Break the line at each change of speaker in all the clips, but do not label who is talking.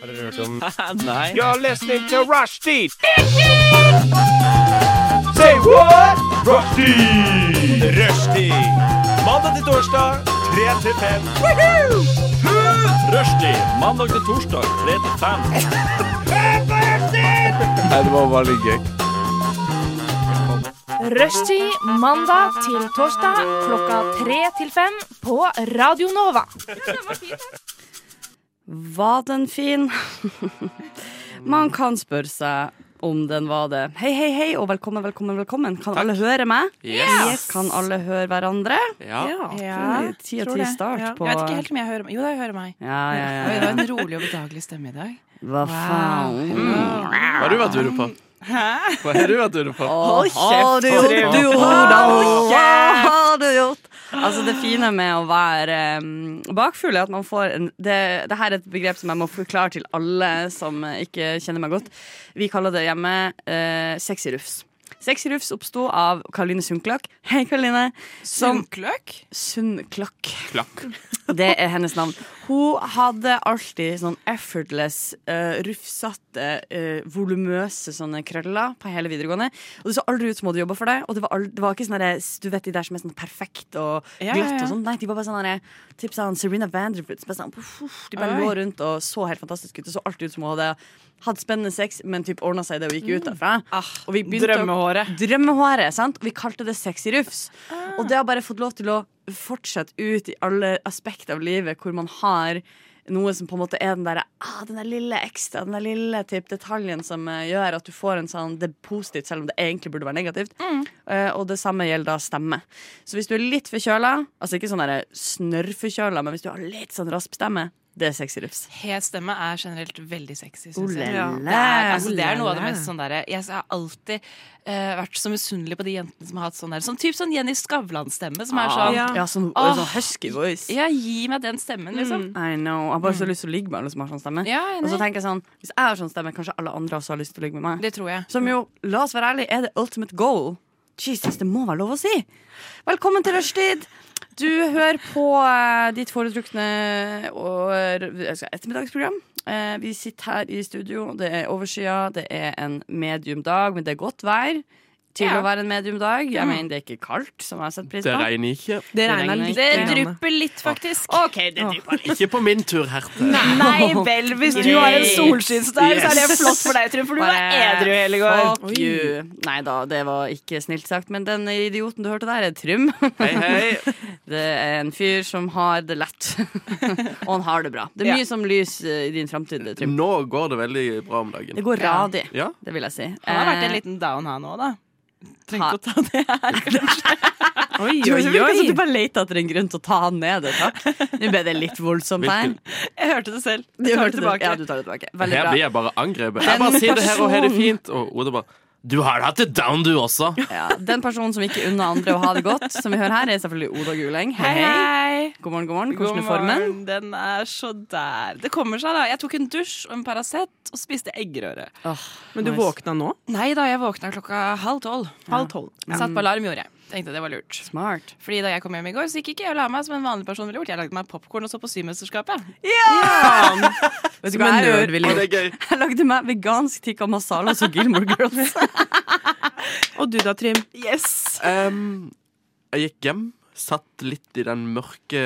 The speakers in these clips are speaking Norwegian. Har dere hørt om
Nei.
You're listening to Rushdie! Say what? Rushdie! Rushdie! Mandag til torsdag, 3 til 5. Rushdie, mandag til torsdag, 3 til 5.
Nei, det var bare litt gøy.
Rushtid mandag til torsdag klokka tre til fem på Radio Nova.
Var den fin? Man kan spørre seg om den var det. Hei, hei, hei, og velkommen, velkommen, velkommen. Kan alle høre meg?
Yes.
Kan alle høre hverandre?
Ja.
Ja,
Det er Ti og
tror
ti
det.
start
Ja.
på
Jeg vet ikke helt om jeg hører meg. Jo da, jeg hører meg.
Ja, ja, ja.
Oi, det var en rolig og bedagelig stemme i dag.
Hva faen? Mm.
Hva har du vært ure på? Hva har du vært ure på?
Hold kjeft! Du gjort, du gjorde Hva har du gjort? Altså Det fine med å være um, bakfugl er at man får en det, det her er et begrep som jeg må forklare til alle som eh, ikke kjenner meg godt. Vi kaller det hjemme eh, sexy rufs. Sexy rufs oppsto av Karoline Sundklakk. Hei, Karoline.
Sånn-
Som
Sundkløk?
Sundklakk.
Klakk.
Det er hennes navn. Hun hadde alltid sånn effortless, uh, rufsete, uh, volumøse sånne krøller på hele videregående. Og det så aldri ut som hun hadde jobba for det. Og det var, ald- det var ikke sånn derre- du vet de der som er sånn perfekt og
Ja, ja,
glatt
ja.
og sånn. Nei, de var bare sånn derre- typ sånn Serena Vanderfoot. Bare sånn, puff, puff, de bare
Oi.
lå rundt og så helt fantastisk ut. Det så alltid ut som hun hadde hatt spennende sex, men typ ordna seg det og gikk ut
Mm.
derfra. og vi begynte å-
Ah, Drømmehåret.
Drømmehåret, sant? Og vi kalte det sexy rufs.
Ah.
Og det har bare fått lov til å fortsette ut i alle aspekter av livet hvor man har noe som på en måte er den der, ah, den der lille ekstra, den der lille typ, detaljen som eh, gjør at du får en sånn Det er positivt, selv om det egentlig burde være negativt.
Mm.
Eh, og det samme gjelder da stemme. Så hvis du er litt forkjøla, altså ikke sånn der snørrforkjøla, men hvis du har litt sånn rasp stemme, det er sexy rufs.
Hes stemme er generelt veldig sexy, syns
Olele.
jeg. Det er, altså, det er noe av det mest sånn derre Jeg har alltid eh, vært så misunnelig på de jentene som har hatt sånn der Sånn typ sånn Jenny Skavlan-stemme, som er sånn
Ja, sånn,
Åh.
sånn husky voice.
Ja, gi meg den stemmen, liksom.
I know. Jeg har bare så lyst til å ligge med alle som har sånn stemme.
Ja, jeg er
Mm. Og så
enig.
tenker jeg sånn, Hvis jeg har sånn stemme, kanskje alle andre også har lyst til å ligge med meg.
Det tror jeg.
Som jo, la oss være ærlige, er det ultimate goal. Jesus, det må være lov å si! Velkommen til rushtid! Du hører på eh, ditt foretrukne og, jeg skal- ettermiddagsprogram. Eh, vi sitter her i studio, det er overskya, det er en medium dag, men det er godt vær til
Ja. Mm.
å være en medium dag. Jeg mener, det er ikke kaldt, som jeg har sett pris
Det
på.
regner ikke.
Det
regner
regner
litt.
litt.
Det
grann.
drypper litt, faktisk.
OK, det er dypere.
Ikke på min tur, Herte.
Nei vel, hvis du har en solskinnsdag, så er det flott for deg, Trym, for du var edru i hele går.
Fuck you. Nei da, det var ikke snilt sagt, men den idioten du hørte der, er Trym.
Hei, hei.
Det er en fyr som har det lett. Og han har det bra. Det er mye som lys eh, i din framtid, Trym.
Nå går det veldig bra om
Det
dagen.
går
Ja.
radig,
Ja.
det vil jeg si.
Han har vært
Eh,
en liten down, han òg, da.
ha-
Trenger ikke å ta det her.
Oi,
Eh, Du, det
oi,
virker som du
oi.
bare leter etter en grunn til å ta han ned. Takk. Nå ble det litt voldsomt her.
Hvilken-
Jeg hørte det selv.
Du
Jeg tar
hørte
det
det.
tilbake.
Ja, du tar det tilbake. Veldig
Her
bra.
blir jeg bare angrepet. Jeg bare sier det her og har det fint. Og Oda bare Du har hatt det down, du også.
Ja, den personen som ikke unner andre å ha det godt, som vi hører her, er selvfølgelig Oda Guleng. Hei,
Hei,
hei.
hei.
God morgen, god morgen. Hvordan er formen?
Den er så der. Det kommer seg, da. Jeg tok en dusj og en Paracet og spiste eggerøre.
Men du
Nice.
våkna nå?
Nei da, jeg våkna klokka halv tolv.
Halv tolv.
Satt på alarm, gjorde jeg. Tenkte det var lurt.
Smart.
Fordi da jeg kom hjem i går, så gikk ikke jeg og la meg som en vanlig person ville gjort. Jeg lagde meg popkorn og så på Symesterskapet.
Vet du
Som
hva
en
jeg gjør?
nerd ville gjort.
Det er gøy.
Jeg lagde meg vegansk tikka masala som Gilmore Girls.
Og du da, Trym?
Ehm, jeg gikk hjem, satt litt i den mørke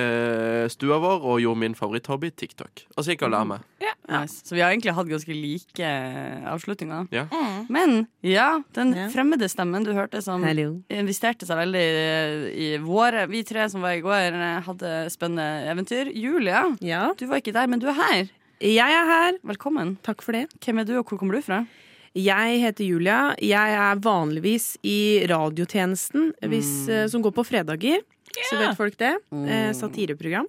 stua vår og gjorde min favoritthobby, TikTok. Og så gikk jeg og la meg.
Nice. Så vi har egentlig hatt ganske like eh, avslutninger.
Ja.
Men ja, den
Ja.
fremmede stemmen du hørte som
Hallo.
investerte seg veldig i våre Vi tre som var i går, eh, hadde spennende eventyr. Julia,
Ja,
du var ikke der, men du er her.
jeg er her.
Velkommen.
Takk for det.
Hvem er du, og hvor kommer du fra?
Jeg heter Julia. Jeg er vanligvis i radiotjenesten hvis, eh, som går på fredager. Så vet folk det. Eh, satireprogram.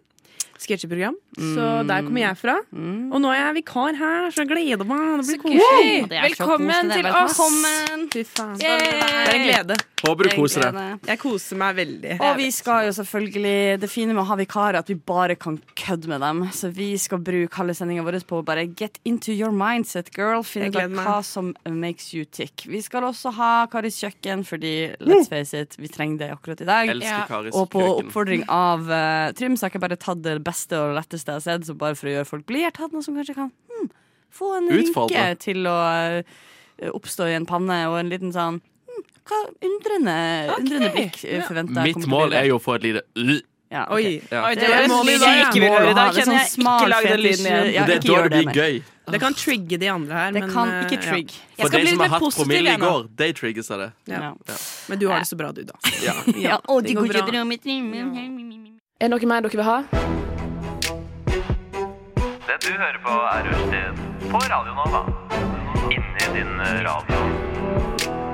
Sketsjeprogram. Så der kommer jeg fra. Og nå er jeg vikar her, Mm. så jeg gleder meg. Det blir koselig.
Hei,
Det er så
velkommen
koselig,
til
det er
oss.
Velkommen.
Fy faen. Det er en
Yay.
glede.
Håper du koser deg.
Glede.
Jeg koser meg veldig.
Og vi skal jo selvfølgelig Det fine med å ha vikarer er at vi bare kan kødde med dem. Så vi skal bruke halve sendinga vår på å bare get into your mindset, girl. Finne
Jeg
ut av
gleder meg.
hva som makes you tick. Vi skal også ha Karis kjøkken, fordi
Mm.
let's face it, vi trenger det akkurat i dag.
Elsker
Ja.
Karis
Og på
kjøkken.
oppfordring av eh, Trym så har jeg ikke bare tatt det beste og letteste jeg har sett, så bare for å gjøre folk blid, jeg har tatt noe som kanskje kan hm, Få en
Utfordre.
rynke til å eh, oppstå i en panne, og en liten sånn hm, hva undrende, undrende blikk eh, forventer jeg
Mitt mål er jo å få et lite øh.
ja, ok.
Oi.
ja.
Oi,
Det er
målet i dag, ja.
ikke vil
Målet
høre.
å
Da
ha det
kjenner
sånn
jeg
smal
ikke lag den
fetisj.
lyden igjen.
Ja,
Det er
ikke
da
gjør
det blir
det, nei.
gøy.
Det kan trigge de andre her,
Det
men,
kan
eh,
ikke
ja.
trigg.
Jeg
For
skal
de
bli litt
som
mer
har hatt
positiv
promille i
igjen nå.
går, de trigges av det.
Ja.
Ja.
Men du har det så bra, du, da.
Ja.
Ja, å, det går bra.
Er det noe mer dere vil ha?
Det du hører på er Rushtid på Radio Nova. Inni din eh, radio.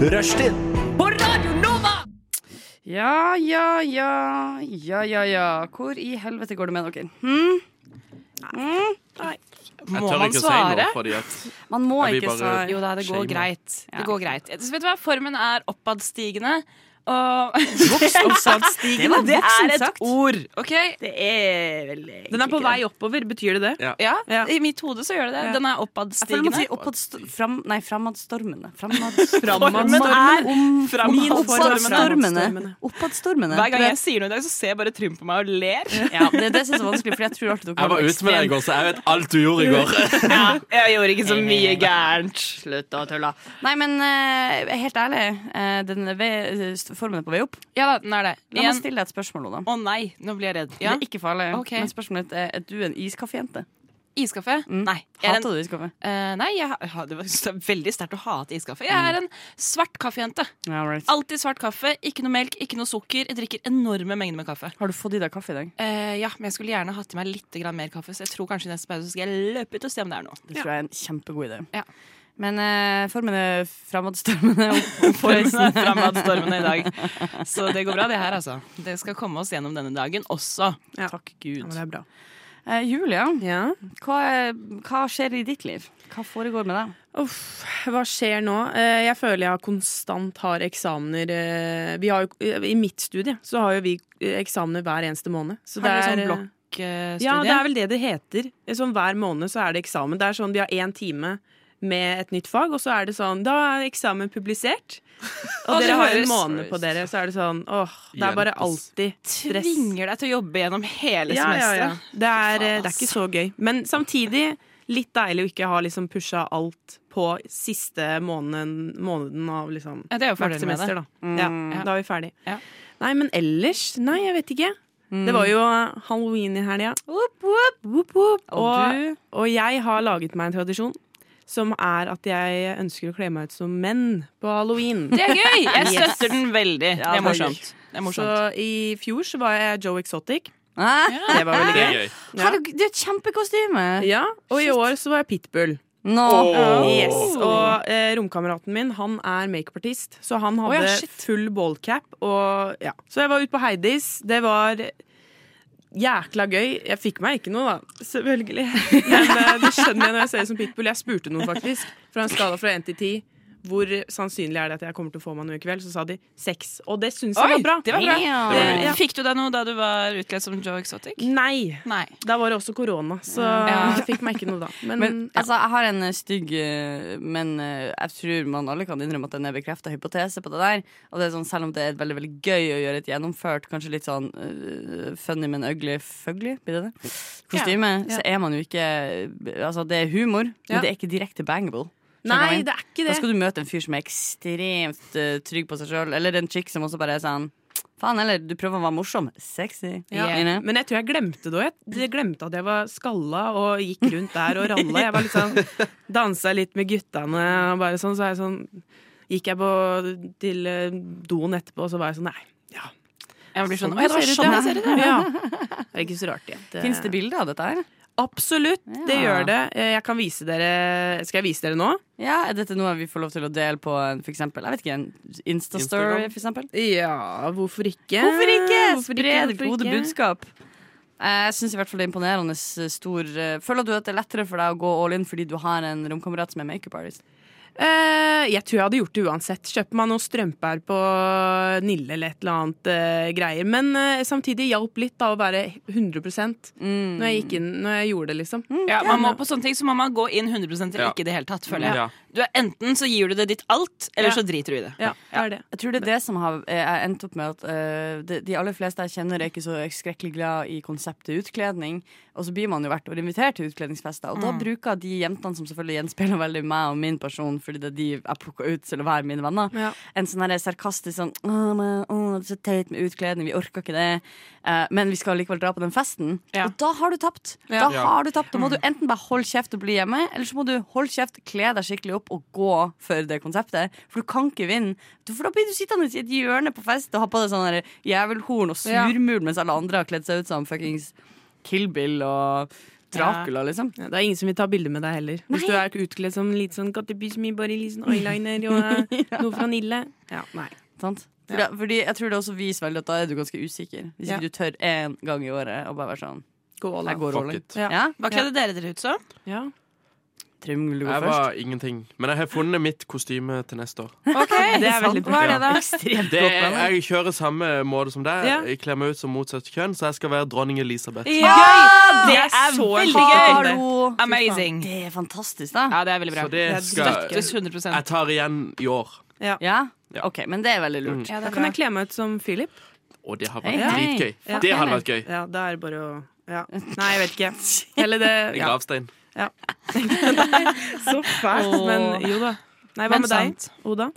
Rushtid
Ja, ja, ja, ja, ja, ja. Hvor i helvete går det med dere? Hm?
Jeg
Må
tør
man
ikke å si noe,
svare?
fordi at
Man må
Jeg blir
ikke
bare-
svare.
Jo da, det går
Shame.
greit.
Ja.
Det går greit. Så vet du hva, formen er oppadstigende. Og
Det var
oppadstigende, det
voksent
er et
sagt.
ord, OK?
Det er veldig
Den er på vei oppover, betyr det det?
Ja.
Ja,
Ja.
i mitt hode så gjør det det. Den er
Jeg føler man
oppadstigende.
sier oppadst- fram, Nei, framadstormende. Framadstormene.
Formen
er
Oppadstormene.
Framadstormene.
Oppadstormene.
Hver gang jeg sier noe i dag, så ser jeg bare Trym på meg og ler.
ja, Det er det som er så vanskelig, for jeg tror alltid dere
Jeg var ute med deg i går, så jeg vet alt du gjorde i går.
Ja, jeg gjorde ikke så mye gærent.
Slutt å tulle. Nei, men eh, helt ærlig, eh, den er ved- formen er på vei opp.
Ja da, den er det.
La meg
Igjen.
stille deg et spørsmål, Oda.
Å nei, nå blir jeg redd.
Det
Ja.
er ikke farlig.
Ok.
Men spørsmålet er er du en iskaffejente.
Iskaffe?
Mm.
Nei. Jeg er en,
Hater du iskaffe?
eh, nei, jeg, ha- det var det er veldig sterkt å hate iskaffe. Jeg er en svart kaffejente.
Ja, right.
Alltid svart kaffe. Ikke noe melk, ikke noe sukker. Jeg drikker enorme mengder med kaffe.
Har du fått i deg kaffe i dag?
Eh, ja, men jeg skulle gjerne hatt i meg litt grann mer kaffe, så jeg tror kanskje i neste pause skal jeg løpe ut og se om det er noe.
Det tror jeg er en kjempegod idé.
Ja.
Men eh, formen er fremadstormende.
Formen er fremadstormende i dag. Så det går bra, det her, altså. Det skal komme oss gjennom denne dagen også.
Ja.
Takk
Ja,
Gud.
men det er bra.
Eh, Julia,
Ja.
hva, er- hva skjer i ditt liv? Hva foregår med deg?
Uff, hva skjer nå? Eh, Jeg føler jeg har konstant har eksamener eh, vi har jo, I mitt studie så har jo vi eh, eksamener hver eneste måned. Så
Har dere
det er,
sånn
eh,
blokkstudie?
Ja, det er vel det det heter. Sånn hver måned så er det eksamen. Det er sånn vi har én time med et nytt fag, og så er det sånn Da er eksamen publisert. Og
Å, det
dere har
høres-
en måned på dere, så er det sånn åh, det er bare
Hjelpes.
alltid stress.
Tvinger deg til å jobbe gjennom hele
Ja, ja, ja.
semesteret.
Det er, eh, det er ikke så gøy. Men samtidig litt deilig å ikke ha liksom pusha alt på siste måneden, måneden av liksom
Ja, det er jo
hvert
fordelen med det.
semester, da. Ja,
Ja.
da er vi ferdig.
Ja.
Nei, men ellers Nei, jeg vet ikke. Det var jo eh, halloween i helga. Whoop, whoop. Og, og jeg har laget meg en tradisjon. Som er at jeg ønsker å kle meg ut som menn på halloween.
Det er gøy! Jeg støtter den veldig. det
det er
er morsomt. Det er
Så
morsomt.
i fjor så var jeg Joe Exotic.
Ah,
Det var
Det
veldig gøy.
er gøy.
Ja.
Herregud, Det er et kjempekostyme!
Ja, og i år så var jeg Pitbull.
Nå.
Yes, og eh, romkameraten min han er makeupartist, så han hadde
Å ja, shit.
full ballcap. Og, ja. Så jeg var ute på Heidis. Det var jækla gøy. Jeg fikk meg ikke noe, da, selvfølgelig. Men eh, det skjønner jeg når jeg ser ut som pitbull. Jeg spurte noen faktisk, fra en skala fra én til ti. Hvor sannsynlig er det at jeg kommer til å få meg noe i kveld? Så sa de seks. Og det syns jeg var bra.
det var bra.
Damn.
Det,
Ja.
Eh,
Mm,
Fikk du deg noe da du var utkledd som Joe Exotic?
Nei.
Nei.
Da var det også korona, så jeg fikk meg ikke noe da. Men,
Men altså, jeg har en eh, stygg eh, Men eh, jeg tror man alle kan innrømme at den er bekrefta hypotese på det der. Og det er sånn, selv om det er veldig veldig gøy å gjøre et gjennomført, kanskje litt sånn eh, funny, men ugly fugly blir det det? kostyme, så er man jo ikke Altså, det er humor, men
Ja.
det er ikke direkte bangable. Skjønner du hva jeg
nei,
mener?
det er ikke
Da
det.
skal du møte en fyr som er ekstremt eh, trygg på seg sjøl, eller en chick som også bare er sånn Faen, eller du prøver å være morsom. Sexy.
Ja.
You know?
Men jeg tror jeg glemte det òg. Jeg glemte at jeg var skalla og gikk rundt der og ralla. Jeg var litt sånn, Dansa litt med guttene og bare sånn. Så er jeg sånn gikk jeg på, til eh, doen etterpå, og så var jeg sånn Nei. Ja.
Jeg blir sånn, Å,
Sånn
ja, det var
ser
sånn
ut,
jeg ser ut.
ja. Ja. Det er ikke så rart igjen.
Fins det bilder av dette her?
Absolutt, det
Ja.
gjør det. Eh, Jeg kan vise dere Skal jeg vise dere nå?
Ja, Er dette noe vi får lov til å dele på en, for eksempel, jeg vet ikke, en Insta-story?
Instagram?
for eksempel?
Ja, hvorfor ikke?
Hvorfor ikke?
Hvorfor
Spre det
Hvorfor
gode
ikke?
budskap. Eh, Jeg syns i hvert fall det er imponerende eh, s- stor eh, Føler du at det er lettere for deg å gå all in fordi du har en romkamerat som er makeup artist?
Eh, jeg tror jeg hadde gjort det uansett. Kjøpt meg noen strømper på Nille eller et eller annet eh, greier. Men eh, samtidig hjalp litt da å være 100 når, jeg gikk inn,
Mm.
når jeg gjorde det, liksom.
Ja, man må på sånne ting, så må man gå inn 100 eller
Ja.
ikke i det hele tatt, føler jeg.
Ja.
Du er, enten så gir du det ditt alt, eller
Ja.
så driter du i det.
Ja, det er det.
Jeg tror det er det som har eh, jeg endt opp med at eh, de, de aller fleste jeg kjenner, er ikke så skrekkelig glad i konseptet utkledning. Og så blir man jo hvert år invitert til utkledningsfester. Og da
Mm.
bruker de jentene, som selvfølgelig gjenspeiler veldig meg og min person, fordi det er de jeg plukker ut til å være mine venner,
Ja.
en sånn her sarkastisk sånn Å, men, å, det er så teit med utkledning, vi orker ikke det. Eh, men vi skal likevel dra på den festen.
Ja.
Og da har du tapt. Da
Ja. Mm.
har du tapt. Da må du enten bare holde kjeft og bli hjemme, eller så må du holde kjeft, kle deg skikkelig opp og gå for det konseptet. For du kan ikke vinne. Du- For da blir du sittende i et hjørne på fest og ha på deg sånn her jævelhorn og surmul mens alle andre har kledd seg ut som fuckings Kill Bill og Dracula, liksom.
Ja, det er ingen som vil ta bilde med deg heller. Hvis du er utkledd som litt sånn gattebysmi, bare litt sånn eyeliner og eh, noe fra Nille. Ja, nei.
Sant? Fordi, fordi jeg tror det også viser veldig at da er du ganske usikker. Hvis
Ja.
ikke du tør én gang i året å bare være sånn.
Gå all
Jeg
out.
går all
Fuck
in.
it.
Ja.
Ja?
Hva kledde dere dere ut som?
Ja.
Trym, vil du gå
Jeg
først?
var ingenting. Men jeg har funnet mitt kostyme til neste år.
Det er veldig bra.
Hva er det, da?
Det er, jeg kjører samme måte som deg.
Ja.
Jeg kler meg ut som motsatt kjønn, så jeg skal være dronning Elisabeth.
Gøy! Det er
så
veldig
fint.
gøy!
Ah, Hallo!
Amazing.
Det er fantastisk, da.
Ja, det er veldig bra.
Så det skal
Støttes 100
jeg tar igjen i år.
Ja? OK, men det er veldig lurt.
Ja,
Da kan jeg kle meg ut som Philip.
Og det har
Hei,
vært
hei.
dritgøy.
Fuck
Det
heller.
hadde vært gøy.
Ja, da er det bare å ja. Nei, jeg vet ikke. Eller det
En
ja.
gravstein.
Så fælt, men jo da. Nei, hva
Men
med deg, Oda?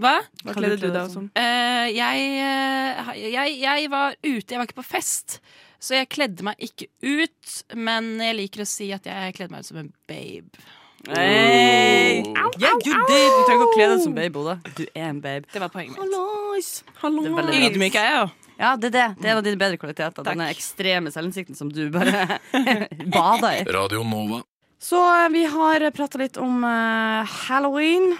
Hva?
Hva kledde du deg som?
Eh, jeg, eh, ha- jeg, jeg var ute, jeg var ikke på fest. Så jeg kledde meg ikke ut, men jeg liker å si at jeg kledde meg ut som en babe.
Hey. Yeah, you did. Du trenger ikke å kle deg som babe, Oda. Du er en babe.
Det var poenget mitt.
Hallois!
Det er veldig bra.
Ydmyk er jeg, jo.
Ja, det er det. Det var dine bedre kvaliteter. Denne ekstreme selvinnsikten som du bare bada i.
Radio Nova.
Så eh, vi har prata litt om eh, halloween.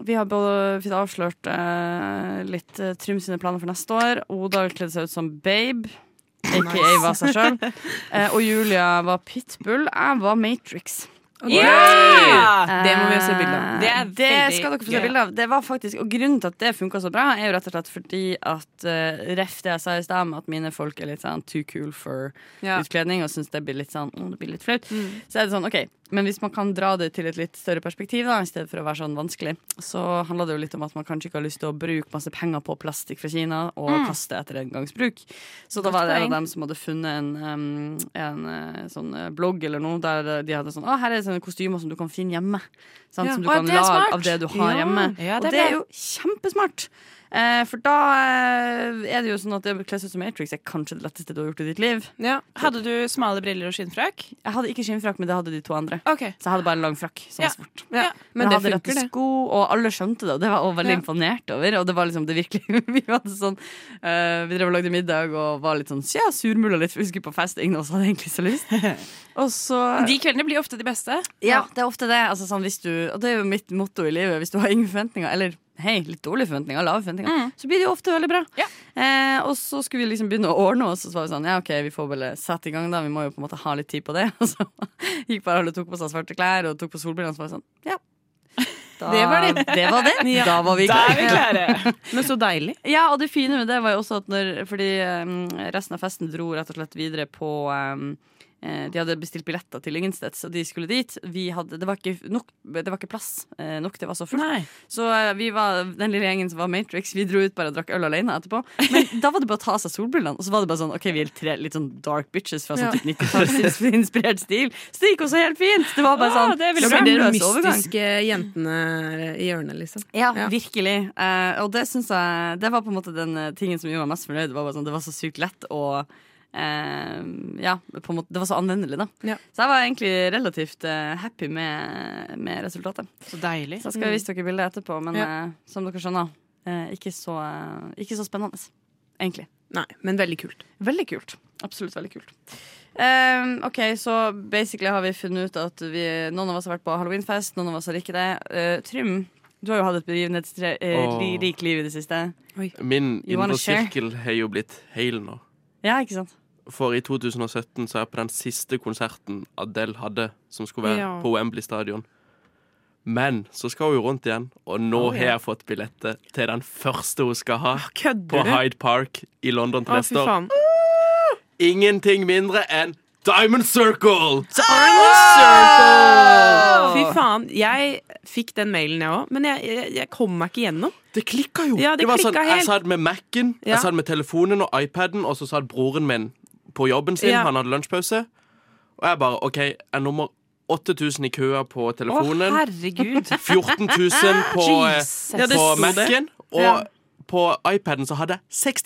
Vi har både fått avslørt eh, litt eh, Trym sine planer for neste år. Oda kledde seg ut som babe. Aka var seg sjøl. og Julia var pitbull. Jeg var Matrix.
Ja!
Det må vi jo se bilde av.
Det er
Det
veldig
skal dere få
gøy.
se bilde av. Det var faktisk, og Grunnen til at det funka så bra, er jo rett og slett fordi at eh, ref det jeg sa i stad, med at mine folk er litt sånn too cool for
Ja. Mm.
utkledning og syns det blir litt sånn «Åh, det blir litt flaut. Så er det sånn, ok, Men hvis man kan dra det til et litt større perspektiv, da, i stedet for å være sånn vanskelig, så handler det jo litt om at man kanskje ikke har lyst til å bruke masse penger på plastikk fra Kina og
Mm.
kaste etter engangsbruk. Så da var det en av dem som hadde funnet en, em, en eh, sånn eh, blogg eller noe, der de hadde sånn Å, her er sånne kostymer som du kan finne hjemme. Sant?
Ja.
Som du
Å,
kan
det er
lage
smart.
av det du har
Ja.
hjemme.
Ja,
og
det er
det er
bra.
jo kjempesmart. Eh, for da eh, er det jo sånn at det å kle seg ut som Matrix er kanskje det letteste du har gjort i ditt liv.
Ja.
Hadde du smale briller og skinnfrakk?
Jeg hadde ikke skinnfrakk, men det hadde de to andre.
Ok.
Så jeg hadde bare en lang frakk. Som
Ja.
var svart.
Ja. Men
jeg
det
hadde rette
funker, det.
sko, og alle skjønte det. Og det var jeg også veldig
Ja.
imponert over. Og det var liksom det virkelig Vi hadde sånn eh, Vi drev og lagde middag og var litt sånn ja, surmula litt, for vi skulle på fest. Ingen av oss hadde egentlig så lyst. Og så
De kveldene blir ofte de beste.
Ja, det er ofte det. Altså, sånn, hvis du, og det er jo mitt motto i livet. Hvis du har ingen forventninger, eller hei, litt dårlige forventninger, lave forventninger, så blir det jo ofte veldig bra.
Ja.
Eh, og så skulle vi liksom begynne å ordne oss, og så var vi sånn ja, OK, vi får vel sette i gang, da. Vi må jo på en måte ha litt tid på det. Og så gikk bare alle og tok på seg svarte klær og tok på solbriller, og så var det sånn ja. Da,
Det var det.
det var det. Da var vi klare.
klare.
Men så deilig.
Ja, og det fine med det var jo også at når Fordi eh, resten av festen dro rett og slett videre på eh, eh, De hadde bestilt billetter til Ingensteds, og de skulle dit. Vi hadde, det, var ikke nok, det var ikke plass eh, nok, det var så fullt.
Nei.
Så eh, vi var, den lille gjengen som var Matrix, vi dro ut bare og drakk øl alene etterpå. Men da var det bare å ta av seg solbrillene, og så var det bare sånn OK, vi er tre litt sånn dark bitches fra sånn typ 90-tallsinspirert stil. Så det gikk også helt fint. Det var bare sånn
Ah, det er veldig
Dere er de
sømløs overgang.
mystiske jentene i hjørnet, liksom.
Ja,
Ja.
virkelig. Eh, og det syns jeg Det var på en måte den eh, tingen som gjorde meg mest fornøyd. Det var, bare sånn, det var så sykt lett og eh, Ja, på en måte, det var så anvendelig, da.
Ja.
Så jeg var egentlig relativt eh, happy med, med resultatet.
Så deilig.
Så jeg skal vise dere bildet etterpå, men
Mm. Ja.
eh, som dere skjønner, eh, ikke, så, eh, ikke så spennende, egentlig.
Nei, men veldig kult.
Veldig kult. Absolutt veldig kult. Ehm, ok, så basically har vi funnet ut at vi, noen av oss har vært på halloweenfest, noen av oss har ikke det. Eh, Trym, du har jo hatt et eh, begivenhetsrikt
Åh.
liv i det siste.
Min
You wanna
indre
share?
sirkel har jo blitt hel nå.
Ja, ikke sant?
For i 2017 så er jeg på den siste konserten Adele hadde, som skulle være
Ja.
på Wembley stadion. Men så skal hun jo rundt igjen, og nå har jeg fått billetter til den første hun skal ha. På
Kødder du?
Hyde Park i London til
Å, fy
neste år.
faen.
Ingenting mindre enn Diamond Circle!
Fy faen. Jeg fikk den mailen, jeg òg, men jeg, jeg, jeg kom meg ikke gjennom.
Det klikka jo!
Ja, det
var
klikka
sånn, Jeg
helt.
satt med Mac-en,
Ja.
jeg satt med telefonen og iPaden, og så satt broren min på jobben sin,
Ja.
han hadde lunsjpause. Og jeg bare OK, jeg er nummer 8000 i køa på
Å,
telefonen.
herregud.
14 000 på, eh,
Jesus.
Ja, det
på
sto det.
Mac-en. Og
Ja.
på iPaden så hadde jeg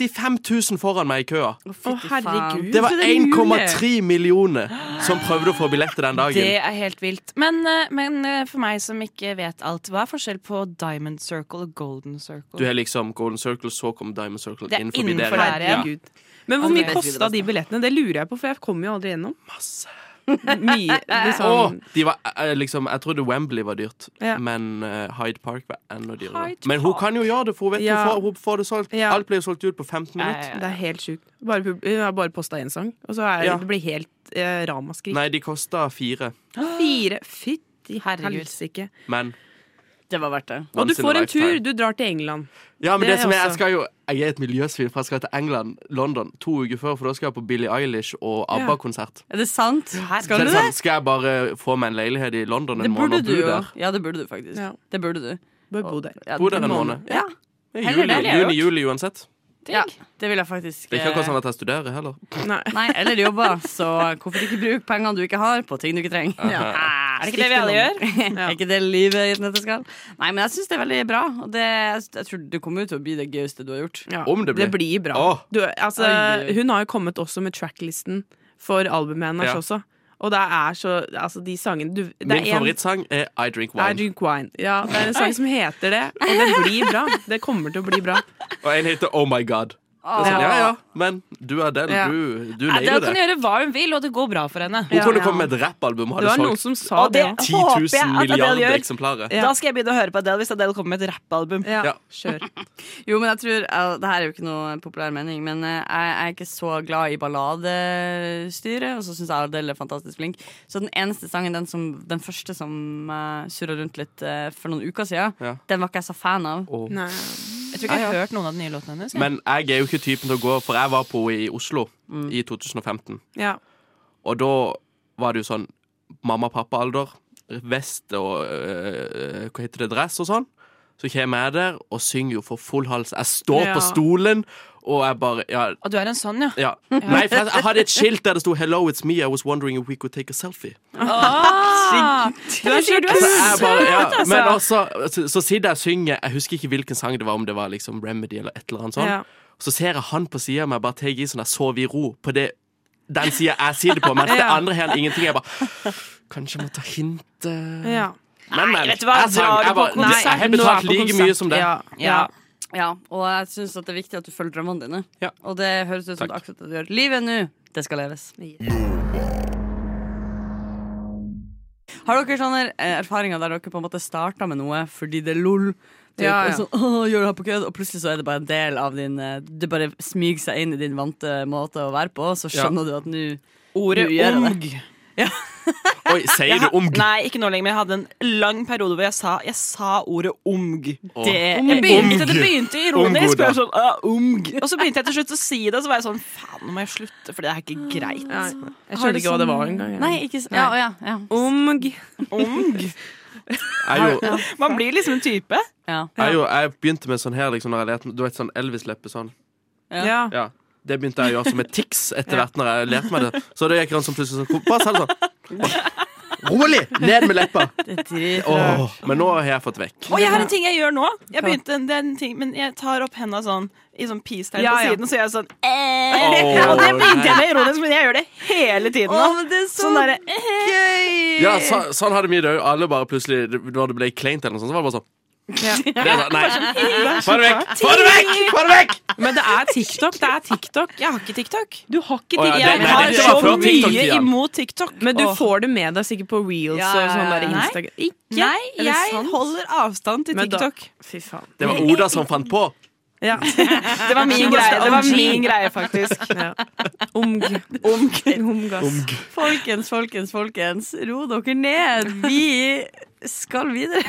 65 000 foran meg i køa.
Å, herregud.
Det var
Så det er mulig.
1,3 millioner som prøvde å få billett til den
Det
dagen.
er helt vilt. Men, eh, men eh, for meg som ikke vet alt, hva er forskjell på diamond circle og golden circle?
Du har liksom Golden Circle, så kom Diamond Circle
Det er
inn forbi
innenfor
dere.
der, ja.
Herregud. Men hvor
Altså,
mye
jeg vet ikke
kosta de billettene? Det lurer jeg på, for jeg kom jo aldri gjennom.
Masse.
Mye,
Åh,
liksom.
de var, eh, liksom, jeg trodde Wembley var dyrt,
Ja.
men eh, Hyde Park var enda dyrere.
Hyde
Men hun
Park.
kan jo gjøre det, for hun vet
Ja.
hun, får, hun får det solgt.
Ja.
Alt blir jo solgt ut på 15
Ja, ja,
minutter.
ja.
Det er helt sjukt. Bare, pub- jeg har bare posta én sang, og så er,
Ja.
det blir helt eh, ramaskrik.
Nei, de kosta fire,
Fire Fytti
Herregud.
helsike.
men
Det var verdt det.
Og du
Once in a
får en tur.
lifetime.
Du drar til England.
Ja, men
Det
det,
er
som er, jeg
også-
skal jo Jeg er et miljøsvin, for jeg skal til England, London, to uker før, for da skal jeg på Billie Eilish og ABBA-konsert.
Er det sant?
Så
Skal
er
du
det
det?
sånn, skal jeg bare få meg en leilighet i London
Det
en måned
burde
og
du
bo
jo.
der?
Ja, det burde du faktisk.
Ja.
Det burde du.
Bør bo der.
Ja,
Bo der en
må du.
måned.
Ja.
Det er
Heller det,
Juli,
det er
juni, juli uansett.
ja, det vil jeg faktisk eh,
Det er ikke akkurat sånn at jeg studerer heller.
Nei.
Nei, eller jobber, så hvorfor ikke bruke pengene du ikke har, på ting du ikke trenger? Er
det ikke det vi alle gjør?
er ikke det livet i et nøtteskall? Nei, men jeg syns det er veldig bra. Og det, jeg tror du kommer jo til å bli det gøyeste du har gjort.
Ja,
Om det blir.
bra.
Åh.
Du, altså,
Oi, oi.
hun har jo kommet også med tracklisten for albumet hennes
Ja.
også. Og det er så Altså, de sangene du, det
Min
er en-
favorittsang er I Drink
I
Wine.
drink wine. Ja, det er en sang som heter det, og det blir bra. Det kommer til å bli bra.
Og en heter Oh My God. Det er sånn, ja, ja, men du er den.
Ja.
Du, du
Ja,
nailer
da kan hun
det.
gjøre hva hun vil, og det går bra for henne.
Hun
Ja,
kunne
ja.
komme med et rappalbum og
Det
hadde
var noen
solgt
som sa det
det-
også.
10
håper jeg
000
at Adele
milliarder
gjør.
eksemplarer.
Ja.
Da skal jeg begynne å høre på Adele hvis Adele kommer med et rappalbum.
Ja.
Ja.
Kjør.
Jo, men jeg tror jeg, Det her er jo ikke noe populær mening, men eh, jeg, jeg er ikke så glad i balladestyret. Og så syns jeg Adele er fantastisk flink. Så den eneste sangen, den, som, den første som uh, surra rundt litt eh, for noen uker siden,
Ja.
den var ikke jeg så fan av.
Og-
Nei.
Jeg tror ikke jeg har hørt noen av de nye låtene hennes. jeg.
Men jeg er jo ikke typen til å gå, for jeg var på henne i Oslo i 2015.
Ja.
Og da var det jo sånn mamma-pappa-alder, vest og øh, hva heter det, dress og sånn. Så kommer jeg der og synger jo for full hals. Jeg står
Ja.
på stolen, og jeg bare Ja,
Og du er en sånn, ja.
Ja. Nei, for jeg, jeg hadde et skilt der det sto 'Hello, it's me. I was wondering if we could take a selfie'.
Ah!
Du altså. er så
Så,
kul!
jeg bare, ja. Men også, så, så sitter jeg og synger Jeg husker ikke hvilken sang det var, om det var liksom Remedy eller et eller annet sånt.
Ja.
Så ser jeg han på sida av meg bare tar i sånn jeg sov i ro på det, den sida jeg sitter på, mens det
Ja.
andre her ingenting. Jeg bare Kanskje jeg må ta hintet
Ja.
Men, men.
vet du hva?
Jeg, sang,
Drar du på
jeg, bare,
konsert?
jeg har
nå er jeg
betalt
på
like
konsert.
mye som det.
Ja. Ja.
Ja, Og jeg syns det er viktig at du følger drømmene dine.
Ja.
Og det høres ut som
Takk.
det akkurat det du gjør. Livet nå, det skal leves. Har dere sånne eh, erfaringer der dere på en måte starta med noe fordi det er lol? Typ,
Ja, ja.
Og, sånn, «Åh, gjør det her på kødd», og plutselig så er det bare en del av din eh, Det bare smyger seg inn i din vante måte å være på, og så
Ja.
skjønner du at nå
Ordet
Du gjør det.
omg.
Oi, sier du omg?
Nei, ikke nå lenger, men jeg hadde en lang periode hvor jeg sa, jeg sa ordet omg.
Åh.
Det, jeg begynte, det begynte ironisk,
Omg,
og,
da.
jeg sånn, «Å, omg. og så begynte jeg til slutt å si det, og så var jeg sånn faen, nå må jeg slutte, for det er ikke greit.
Nei. Jeg skjønte ikke hva det var engang. jeg.
Nei, ikke s- Ja, å ja, ja.
Omg.
Omg.
Jeg, er jo,
Man blir liksom en type.
ja.
jeg, er jo, jeg begynte med sånn her, liksom, når jeg lærte Du vet sånn Elvis-leppe sånn.
Ja.
Ja.
Ja. Det begynte jeg å gjøre som et tics etter hvert når jeg lærte meg det. Så det gikk han som plutselig sånn Bare sa det sånn. Rolig! Ned med leppa.
Det er drit.
Åh, men nå har jeg fått vekk.
Og jeg har en ting jeg gjør nå. Jeg begynte en, det er en ting, men jeg tar opp henda sånn i sånn peace-tegn
Ja,
på
ja.
siden, så gjør jeg sånn eh.
Åh,
Og det begynte
nei.
jeg med ironisk, men jeg gjør det hele tiden nå.
Åh, men det er så
Sånn derre
Ja, så, sånn hadde vi det òg. Alle bare plutselig Når det ble kleint eller noe sånt, så var det bare sånn. Det er sånn, nei. Få det vekk! Få det vekk! Få det vekk!
Men det er TikTok. Det er TikTok.
Jeg har ikke TikTok.
Du har ikke
Å, ja,
TikTok.
det-
Jeg
nei,
har
det var
så
fra
mye
TikTok-tida.
imot TikTok.
Men du
Åh.
får det med deg sikkert på reels
Ja, ja,
og sånn der
ja.
Nei.
Instagram. Ikke?
Nei,
Er det
jeg
sant?
holder avstand til
Men da-
TikTok.
Fy faen.
Det var Oda som fant på.
Ja.
Det var min greie, det var min greie faktisk.
ja. Omg. Omgass.
Folkens, folkens, folkens. Ro dere ned. Vi skal videre.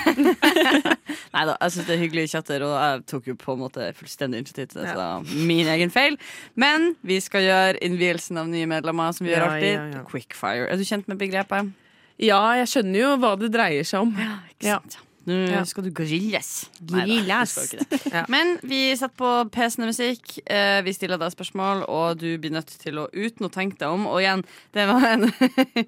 Nei da, jeg syns det er hyggelige chatter, og jeg tok jo på en måte fullstendig initiativ til det. Så det var min egen feil. Men vi skal gjøre innvielsen av nye medlemmer, som vi gjør
Ja,
alltid.
ja, ja.
Quickfire. Er du kjent med begrepet?
Ja, jeg skjønner jo hva det dreier seg om.
Ikke sant? Nå skal du grilles. Neida, du
Grilles.
skal ikke det.
Ja.
Men vi setter på PC-ene musikk. eh, Vi stiller deg spørsmål, og du blir nødt til å uten å tenke deg om. Og igjen, det var en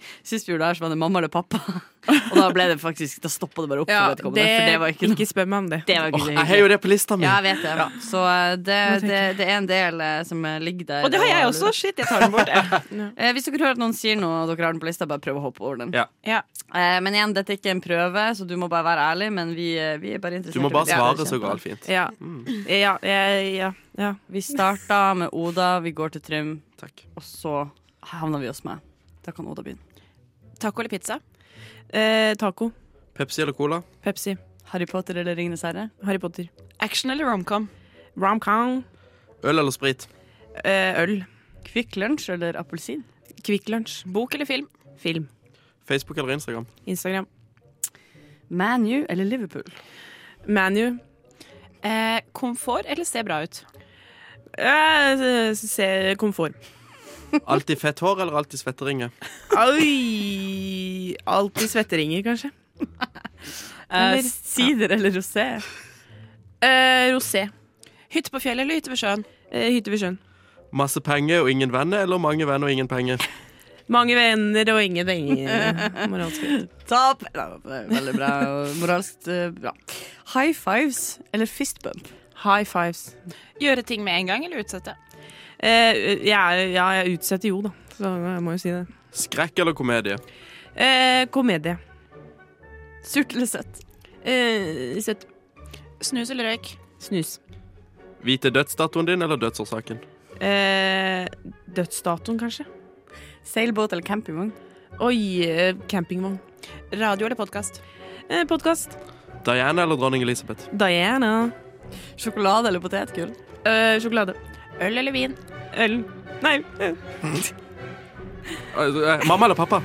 Sist vi gjorde det her, så var det mamma eller pappa. Og da ble det faktisk Da stoppa det bare opp for vedkommende. for det var ikke noe
ikke spør meg om det.
det var ikke
Åh,
så
jeg har jo det på lista mi.
Ja, jeg vet det. Så eh, det, det, det er en del eh, som eh, ligger der.
Og det har jeg også. Shit, jeg tar den bort. jeg.
Eh, Hvis dere hører at noen sier noe, og dere har den på lista, bare prøv å hoppe over den.
Ja.
Ja.
Eh, Men igjen, dette er ikke en prøve, så du må bare være ærlig. Men vi, eh, vi er bare
Du
interessert
må
i
bare
å lære
svare
deg
så
å kjenne.
galt fint.
Ja. Ja, jeg- ja, ja.
Vi starta med Oda, vi går til Trym,
Takk.
og så havna vi hos meg. Da kan Oda begynne.
Taco eller pizza?
Eh, taco.
Pepsi eller cola?
Pepsi.
Harry Potter eller Ringenes herre?
Harry Potter.
Action eller romcom?
Romcom.
Øl eller sprit?
Eh, øl.
Kvikk Lunsj eller appelsin?
Kvikk Lunsj.
Bok eller film?
Film.
Facebook eller Instagram?
Instagram.
ManU eller Liverpool?
ManU.
Eh, komfort eller se bra ut?
Eh, s- se komfort.
Alltid fett hår eller alltid svetteringer?
Oi! Alltid svetteringer, kanskje. Eh,
Eh,
Eller-
Sider eller rosé?
Eh, rosé.
Hytte på fjellet eller hytte ved sjøen?
Eh, hytte ved sjøen.
Masse penger og ingen venner, eller mange venner og ingen penger?
Mange venner og ingen penger. Moralsk rett.
Topp! Ja, det er veldig bra. og Moralsk eh, bra. High fives eller fist bump?
High fives.
Gjøre ting med en gang eller utsette?
Eh, jeg er- ja, jeg utsetter jo, da. Så jeg må jo si det.
Skrekk eller komedie?
Eh, komedie.
Surt eller søtt?
Eh, søtt.
Snus eller røyk?
Snus.
Vite dødsdatoen din eller dødsårsaken?
Eh, dødsdatoen, kanskje?
Seilbåt eller campingvogn?
Oi, eh, campingvogn.
Radio eller podkast?
Eh, Podkast.
Diana eller dronning Elisabeth?
Diana.
Sjokolade eller potetgull?
Eh, sjokolade.
Øl eller vin?
Øl. Nei. eh,
Eh, eh, Mamma eller pappa?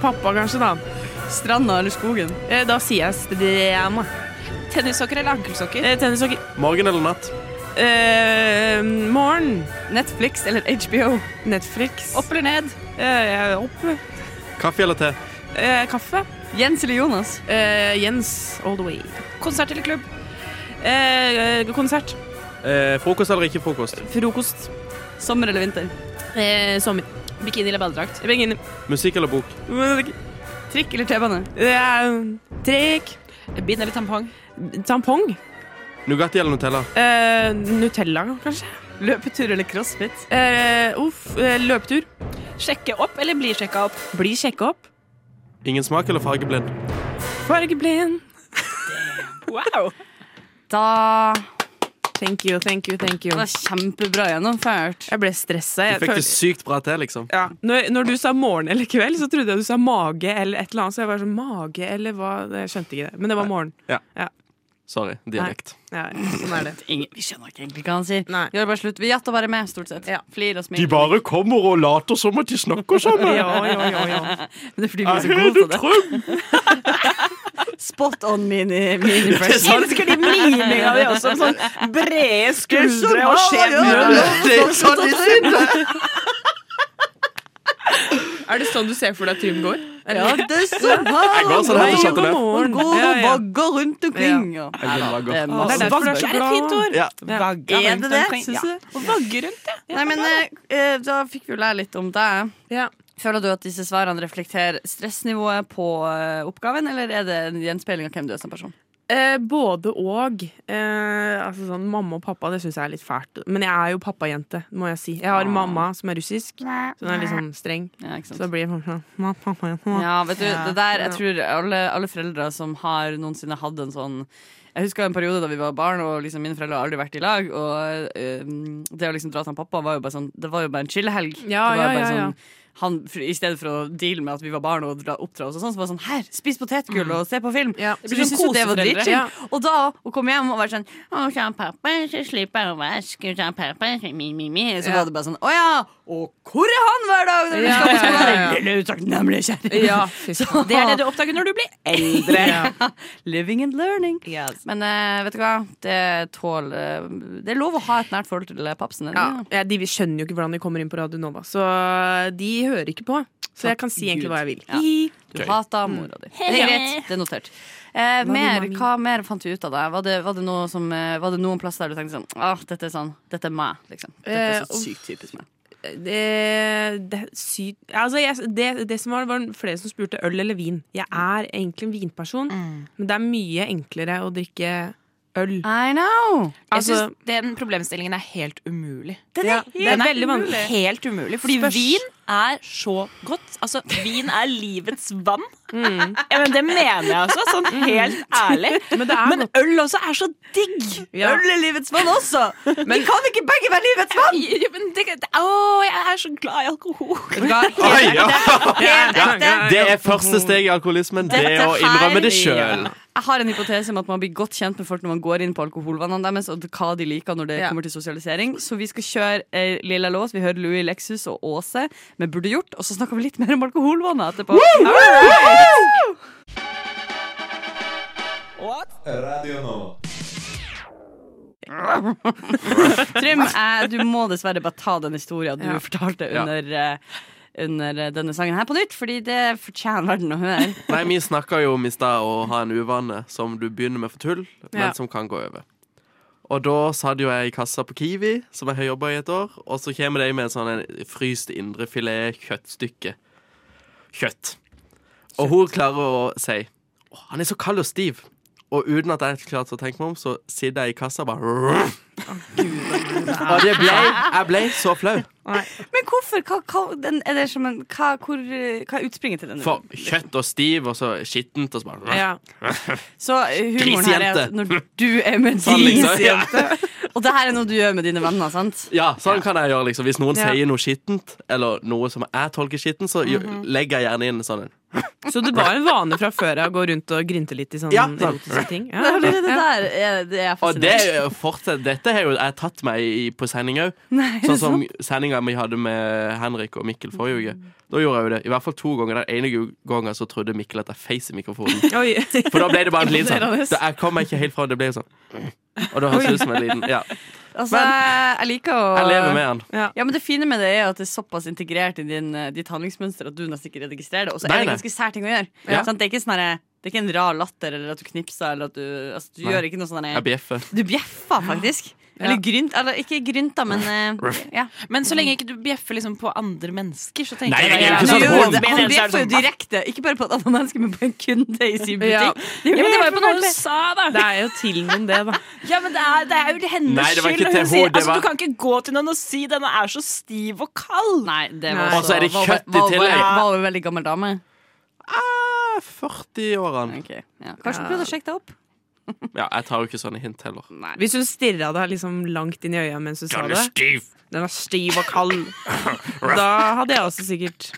Pappa, kanskje, da.
Stranda eller skogen?
Eh, da sier jeg strema.
Tennissokker eller ankelsokker?
Eh, tennishockey.
Morgen eller natt?
Eh, morgen.
Netflix eller HBO?
Netflix.
Opp eller ned?
Eh, opp.
Kaffe eller te?
Eh, kaffe.
Jens eller Jonas?
Eh, Jens all the way.
Konsert eller klubb?
Eh, eh, konsert.
Eh, frokost eller ikke frokost?
Frokost.
Sommer eller vinter?
Eh, sommer.
Bikini eller badedrakt?
Begynner.
Musikk eller bok?
Trikk eller T-bane?
Eh, trekk.
Bind eller tampong?
Tampong.
Nugatti eller Nutella?
Eh, Nutella, kanskje.
Løpetur eller crossfit?
Eh, uff, eh, løpetur.
Sjekke opp eller bli sjekka opp?
Bli sjekka opp.
Ingen smak eller fargeblind?
Fargeblind.
Wow!
Da
Thank you, thank you, thank you.
Det var kjempebra gjennomført.
Jeg ble stressa.
Du
Jeg
fikk det
følte-
sykt bra til, liksom.
ja. når, når du sa morgen eller kveld, så trodde jeg du sa mage eller et eller annet. Så jeg var sånn mage eller hva Jeg skjønte ikke det. Men det var morgen.
Sorry, dialekt.
Ja, sånn er det.
Ingen, vi skjønner ikke egentlig hva han sier.
Nei.
Vi gjør bare slutt. Vi gjetter bare med, stort sett. Flir og smiler.
kommer og later som at de snakker sammen.
Ja, ja, ja, ja.
Men det er fordi vi er så gode på det. Spot on mini, mini impression.
elsker de miminga di også. Sånn brede skuldre og skjev
Det er sånn de sier det!
Er det sånn du ser for deg Trym går?
Ja, det er så bra!
Jeg går sånn her til
god Altså,
Chateauneuf.
morgen.
Går
Ja,
og
ja.
vagger rundt omkring. og-
Jeg kunne bare gått.
Det er
Det
masse-
er derfor du er så
Det er et fint
glad.
ord!
Ja.
Vagga
Er
rundt
det det?
omkring.
Synes
Ja. Og vagge rundt, ja.
Nei, men eh, eh, da fikk vi jo lære litt om deg.
Ja.
Føler du at disse svarene reflekterer stressnivået på eh, oppgaven, eller er det en gjenspeiling av hvem du er som person?
Eh, både og. Eh, altså sånn, mamma og pappa det syns jeg er litt fælt. Men jeg er jo pappajente, må jeg si. Jeg har mamma som er russisk, så hun er litt sånn streng.
Ja, ikke sant?
Så da blir jeg sånn «Ma, pappa, ja.
Ja, vet du, det der, jeg
Ja.
tror alle, alle foreldre som har noensinne hatt en sånn Jeg husker en periode da vi var barn, og liksom mine foreldre har aldri vært i lag. Og eh, det å liksom dra til han pappa var jo bare sånn Det var jo bare en chillehelg.
Ja,
det var jo
ja,
bare
ja, ja.
Sånn, han, for, I stedet for å deale med at vi var barn og dra, oppdra oss og sånn, så var det sånn Her, spis potetgull og se på film!
Ja.
Så vi syntes jo det var
koseforeldre.
dritchill.
Ja.
Og da å komme hjem og være sånn Å, kjære pappa, så slipper jeg å vaske, kjære pappa, mi, mi, mi. Så var det bare sånn Å ja! Og hvor er han hver dag når du
Ja,
skal på
ja, ja,
skolen?
ja.
Lille utakknemlige kjerring.
Ja, fy faen.
Det er det du oppdager når du blir eldre.
Living and learning. Men eh, vet du hva? Det tåler Det er lov å ha et nært forhold til eh, papsen. er det
Ja,
det?
ja, de skjønner jo ikke hvordan de kommer inn på Radio Nova, så eh, de hører ikke på. Så jeg kan si egentlig hva jeg vil.
Ja. Du
Gøy.
hater mora di. Det er greit, det er notert. Eh, mer, hva mer fant vi ut av det? Var det, var det, noe som, eh, var det noen plasser der du tenkte sånn ah, Dette er sånn, dette er meg, liksom. Dette er
Eh,
så sykt typisk meg.
Det, det, sy, altså jeg, det, det som var, var flere som spurte øl eller vin. Jeg er egentlig en vinperson,
Mm.
men det er mye enklere å drikke øl.
I know!
Jeg
Altså,
synes Den problemstillingen er helt umulig.
ja, det er veldig vanskelig.
Helt umulig, fordi
Spørs.
vin er så godt. Altså, vin er livets vann. Ja, men det mener jeg altså, sånn helt ærlig.
Mm. Men det er
Men
godt.
øl også er så digg!
Ja.
Øl er livets vann også! Vi kan ikke begge være livets vann!
Ja, men det, det, å, jeg er så glad i alkohol.
Oi, ja.
Ja,
Det er første steg i alkoholismen, det å innrømme det sjøl.
Jeg har en hypotese om at man blir godt kjent med folk når man går inn på alkoholvannene deres, og hva de liker når det
Ja.
kommer til sosialisering. Så vi skal kjøre eh, Lilla Lås, vi hører Louis Lexus og Åse med Burde gjort, og så snakker vi litt mer om alkoholvannet etterpå.
Radio Nova.
Trym, eh, du må dessverre bare ta den historien du
Ja.
fortalte
Ja.
under eh, under eh, denne sangen her på nytt, fordi det fortjener verden å høre.
Nei, vi snakka jo om i stad å ha en uvane som du begynner med for tull,
Ja.
men som kan gå over. Og da satt jo jeg i kassa på Kiwi, som jeg har jobba i et år, og så kommer de med en sånn en fryst indrefilet kjøttstykke. Kjøtt. Og hun klarer å si Å, han er så kald og stiv. Og uten at jeg klarte å tenke meg om, så sitter jeg i kassa og bare Og det ble, jeg ble så flau.
Men hvorfor? Hva, hva, den, er det som en, hva, hvor, eh, hva er utspringet til den?
For kjøtt og stiv, og så skittent, og så bare
Ja.
Så eh, humoren her er at
Grisejente.
når du er med
Sånn, liksom.
grisejente, og det her er noe du gjør med dine venner, sant?
Ja, sånn kan jeg gjøre liksom Hvis noen
Ja.
sier noe skittent Eller noe som jeg tolker skittent Så jo- legger jeg gjerne inn en sånn en.
Så det var en vane fra før av å gå rundt og grynte litt i sånne
Ja, sant.
erotiske ting?
Det,
Ja.
det der er, det er
Og det
fascinerende.
er jo fortsatt, dette har jo jeg tatt meg i på sending også
Nei,
Sånn som sendingen vi hadde med Henrik og Mikkel forrige uke Da gjorde jeg jo det I hvert fall to ganger Den ene gangen så trodde Mikkel at jeg feis i mikrofonen
Oi.
For da ble det bare en liten sånn
Imponerende.
Da- Jeg kom meg ikke helt fra det ble sånn Og da høres det ut som en liten ja.
altså, jeg liker å
Jeg lever med han
Ja, men Det fine med det er at det er såpass integrert i din, eh, ditt handlingsmønster at du nesten ikke registrerer det. Og så
Nei,
er det
nei.
ganske sær ting å gjøre.
Ja.
Sant? Det er ikke sånn herre- det er ikke en rar latter eller at du knipser eller at du altså, Du
Nei.
gjør ikke noe sånn
Jeg
herre-
bjeffer
Du bjeffer faktisk. Eller grynt Eller ikke grynta, men eh, ja.
Men så lenge ikke du bjeffer liksom på andre mennesker, så tenker
Nei,
jeg
det er jo
ja,
ikke
nå
sånn
gjorde
at
jeg
Han
det. Men ellers
bjeffer
er
jo
det sånn,
direkte. Ikke bare på et annet menneske, men på en kunde i sin butikk.
Ja.
Det er jo
Ja, men det var
helt
jo på noe
forferdelig.
du sa, da.
Det er jo til noen, det, da.
Ja, men det er, det er jo hennes
Nei, det var ikke
skyld. og
til
Hun sier,
henne, det
altså, du
var-
kan ikke gå til noen og si 'denne er så stiv og kald'.
Nei, det
Nei.
var
Og så er det
var-
kjøtt i
var- var-
tillegg.
Var hun en veldig gammel dame?
ah, 40-årene
Ok, ja. Kanskje hun prøvde å sjekke deg opp?
Ja, jeg tar jo ikke sånne hint heller
Hvis hun stirra deg liksom langt inn i øya mens du sa det
stiv
Den er stiv og kald. Da hadde jeg også sikkert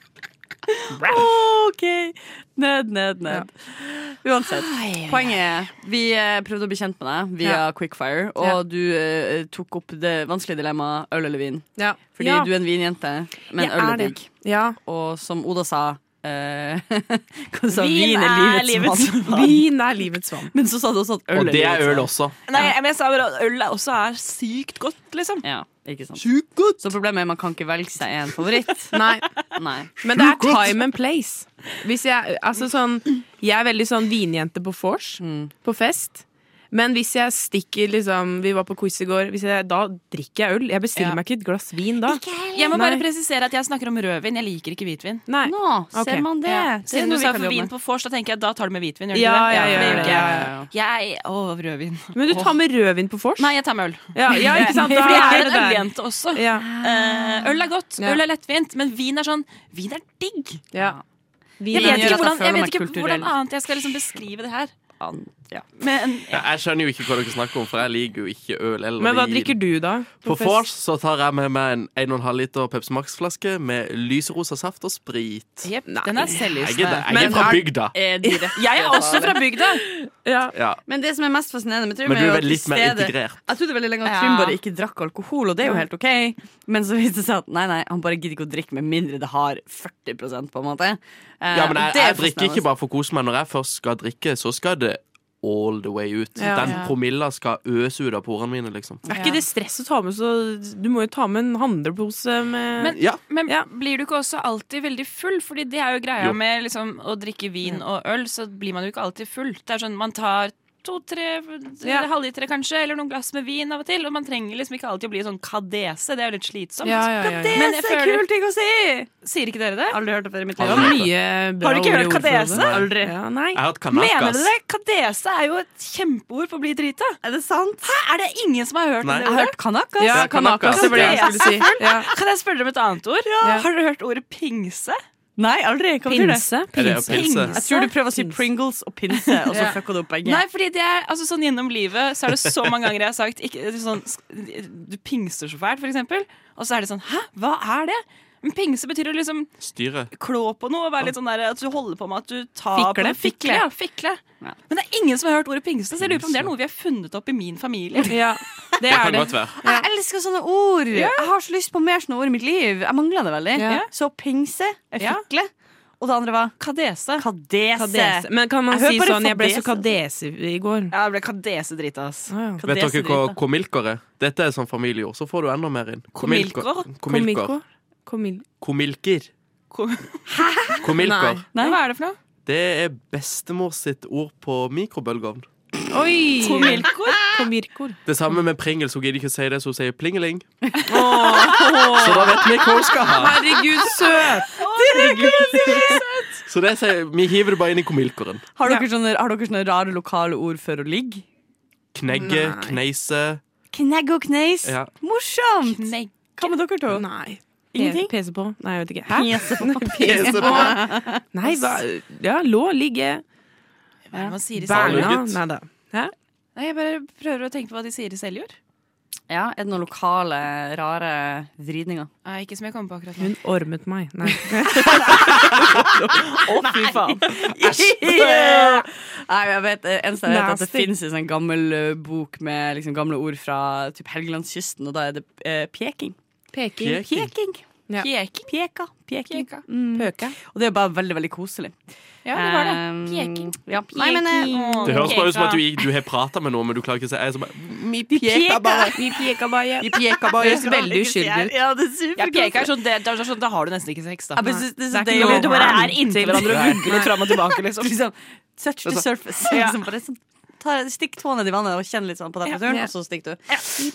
OK. Ned, ned, ned. Uansett. Poenget er vi eh, prøvde å bli kjent med deg via
Ja.
Quickfire, og
Ja.
du eh, tok opp det vanskelige dilemmaet øl eller vin.
ja.
Fordi du er en vinjente, men
Jeg
øl
er
er
det.
digg.
Ja.
Og som Oda sa eh, hva sa,
Vin
Vin er
er
livets
livets
vann.
Vin er livets vann.
Men så sa du også at øl
Og det
livets
er sånn. øl
vann.
også
Nei, men jeg sa bare at øl er- også er sykt godt, liksom.
Ja, ikke sant. Så problemet er man kan ikke velge seg en favoritt.
Nei.
Nei.
Men det er time and place. Hvis jeg, altså sånn, jeg er veldig sånn vinjente på vors, på fest. Men hvis jeg stikker liksom Vi var på quiz i går. Hvis jeg, da drikker jeg øl. Jeg bestiller
Ja.
meg ikke et glass vin da.
Jeg må bare
Nei.
presisere at jeg snakker om rødvin. Jeg liker ikke hvitvin.
Nei.
Nå,
Ok.
ser man det.
Ja.
det er
Siden du
noe vi
sa
kan
for
jobbe
vin
med.
på vors, da tenker jeg da tar du med hvitvin. Gjør du
Ja,
ikke det?
ja, ja,
det gjør
ja,
ikke jeg.
ja,
Jeg Å, rødvin.
Men du tar med rødvin på vors?
Nei, jeg tar med øl.
Ja, ja, ikke sant? Da
For jeg
er
er en
det der.
øljente også.
Ja,
Eh, øl er godt,
Ja.
øl er lettvint, men vin er sånn Vin er digg.
ja.
Jeg
Vin
vet
gjør
ikke
at jeg
hvordan, jeg
føler meg
vet ikke
kulturell.
hvordan annet jeg skal liksom beskrive det her.
An- ja.
Men
Ja, jeg skjønner jo ikke hva dere snakker om, for jeg liker jo ikke øl eller
Men hva
vin.
drikker du, da?
På vors så tar jeg med meg en 1,5 liter Pepsi Max-flaske med lyserosa saft og sprit.
Jepp, den er
Jeg er,
selvlysende.
jeg
Men
er fra
er-
bygda.
Eh, direkte
Jeg er også fra bygda.
Ja.
Ja.
Men det som er mest fascinerende med Trym,
Men du
er jo
er
at
litt mer
stedet-
integrert.
Jeg trodde veldig lenge at
Ja.
Trym bare ikke drakk alkohol, og det er jo helt OK. Men så viste det seg at nei, nei, han bare gidder ikke å drikke med mindre det har 40 på en måte. Eh,
Ja, men
og
jeg,
det er
jeg drikker ikke
fascinerende.
bare for å kose meg. Når jeg først skal drikke, så skal det all the way ut.
Ja.
Den
Ja.
promilla skal øse ut av porene mine, liksom.
Er ikke det stress å ta med, så du må jo ta med en handlepose med
Men-
Ja.
Men
Ja.
blir du ikke også alltid veldig full? Fordi det er jo greia
Jo.
med liksom, å drikke vin
Mm.
og øl, så blir man jo ikke alltid full. Det er sånn, Man tar to-tre
Ja.
halvlitere kanskje, eller noen glass med vin av og til. Og man trenger liksom ikke alltid å bli sånn kadese. Det er jo litt slitsomt.
Det
Men
er
jeg
så
føler-
kul ting å si!
Sier ikke dere det?
Aldri hørt det før i mitt
Det
liv.
var mye bra
Har du ikke
ord i
hørt
ordforrådet.
kadese?
Aldri.
Ja, nei.
Jeg har hatt
Mener
kanakas.
dere det? Kadese er jo et kjempeord på å bli drita.
Er det sant?
Hæ, er det ingen som har hørt
Nei.
det
Jeg har
ordet?
hørt kanakas.
Ja, kanakas, det var det jeg skulle si. Ja.
Kan jeg spørre dere om et annet ord?
Ja.
Har dere hørt ordet pinse?
Nei, aldri. Hva betyr det?
Er det å
Pings.
pilse?
Jeg tror du prøver å si Pringles og pinse, og så
Ja.
fucka du opp begge.
Nei, fordi det er altså, sånn gjennom livet Så er det så mange ganger jeg har sagt ikke, sånn, Du pingser så fælt, for eksempel Og så er det sånn, hæ, hva er det? Men pingse betyr å liksom
Styre.
klå på noe og være litt sånn der, At du holder på med at du tar på
Fikle,
noe.
fikle.
ja, fikle.
Ja.
Men det er ingen som har hørt ordet pingse Så jeg lurer på om det er noe vi har funnet opp i min familie
Ja, det
Det
er
kan
det.
godt være.
Jeg elsker sånne ord! Jeg har så lyst på mer sånne ord i mitt liv. Jeg mangler det veldig.
Ja.
Så pingse er
Ja.
fikle. Og det andre var
Kadese
kadese.
Kadese. Men kan man
Jeg hører
si
bare
sånn 'jeg ble så
fadese.
kadese i går'?
Ja, det ble kadese dritt, ass
Ah, ja.
Vet
Kadese
dere hva
drita.
komilker er? Dette er sånn familieord. Så får du enda mer inn.
Komilker?
Komilker.
Komil...
Komilker.
Kom-
Komilker.
Nei.
Hva er det for noe?
Det er bestemor sitt ord på mikrobølgeovn.
Oi!
Komilkor?
Komirkor.
Det samme med Pringles. Hun gidder ikke å si det, så hun sier plingeling. Så da vet vi hva hun skal ha.
Herregud, søt!
Så det sier, vi hiver det bare inn i komilkeren.
Har dere, sånne, har dere sånne rare lokale ord for å ligge?
Knegge, kneise.
Knegg og kneis.
Ja.
Morsomt!
Nei
Hva med dere to?
Nei.
Ingenting?
Pese på? Nei, jeg vet ikke. Hæ?
Pese på.
Pese på.
Nei, hva Ja, lå, ligge,
Hva sier de selv?
berna
ligget.
Nei da.
Nei, jeg bare prøver å tenke på hva de sier i selvgjord
Ja, er det noen lokale, rare vridninger?
Nei, ikke som jeg kommer på akkurat nå
Hun ormet meg. Nei.
Å, fy faen! Yeah! Nei, jeg vet, eh, eneste jeg vet at det
Nasty.
finnes i en sånn gammel eh, bok med liksom, gamle ord fra typ Helgelandskysten, og da er det eh, peking.
Peking.
Peking.
Peking.
Ja.
Pjeking
Peka. Peking.
Pjeka
Mm.
Pøke.
Og det er bare veldig, veldig koselig.
Ja, det var det
Um,
Pjeking
Ja. Nei, men eh,
Det høres bare ut som at du, du har prata med noen, men du klarer ikke å si jeg er så bare,
Vi peka bare.
Vi pjeka bare.
Vi peka bare.
Det høres veldig uskyldig ut.
Ja, det er
Jeg
superkoselig.
peker sånn, det, det er sånn, da har du nesten ikke sex, da.
Jeg bare synes det er så
Det er ikke
deilig.
lov.
Du bare er
inntil hverandre og vugger litt fram og tilbake, liksom.
liksom, Touch the surface. Liksom, bare sånn, ta, stikk tåen ned i vannet og kjenn litt sånn på temperaturen,
Ja.
og så stikker du.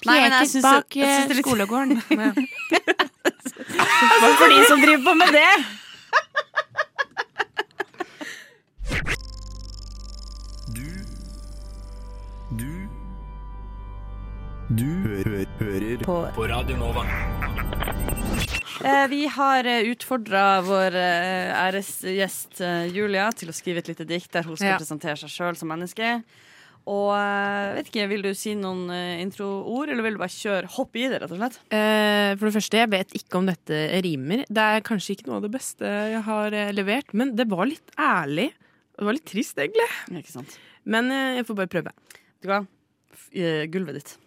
Nei, men jeg
Pjeket
synes-
bak
jeg synes
eh,
det er litt-
skolegården. Ja.
For de som driver på med det.
Du Du Du hø hø hører på. Radio Nova.
Eh, vi har utfordra vår eh, æresgjest eh, Julia til å skrive et lite dikt der hun skal
Ja.
presentere seg sjøl som menneske. Og eh, vet ikke, Vil du si noen eh, introord, eller vil du bare kjøre hopp i det, rett og slett?
Eh, For det første, jeg vet ikke om dette rimer. Det er kanskje ikke noe av det beste jeg har eh, levert, men det var litt ærlig. Og Det var litt trist, egentlig.
Ikke sant?
Men eh, jeg får bare prøve.
Du kan f- eh, gulvet ditt.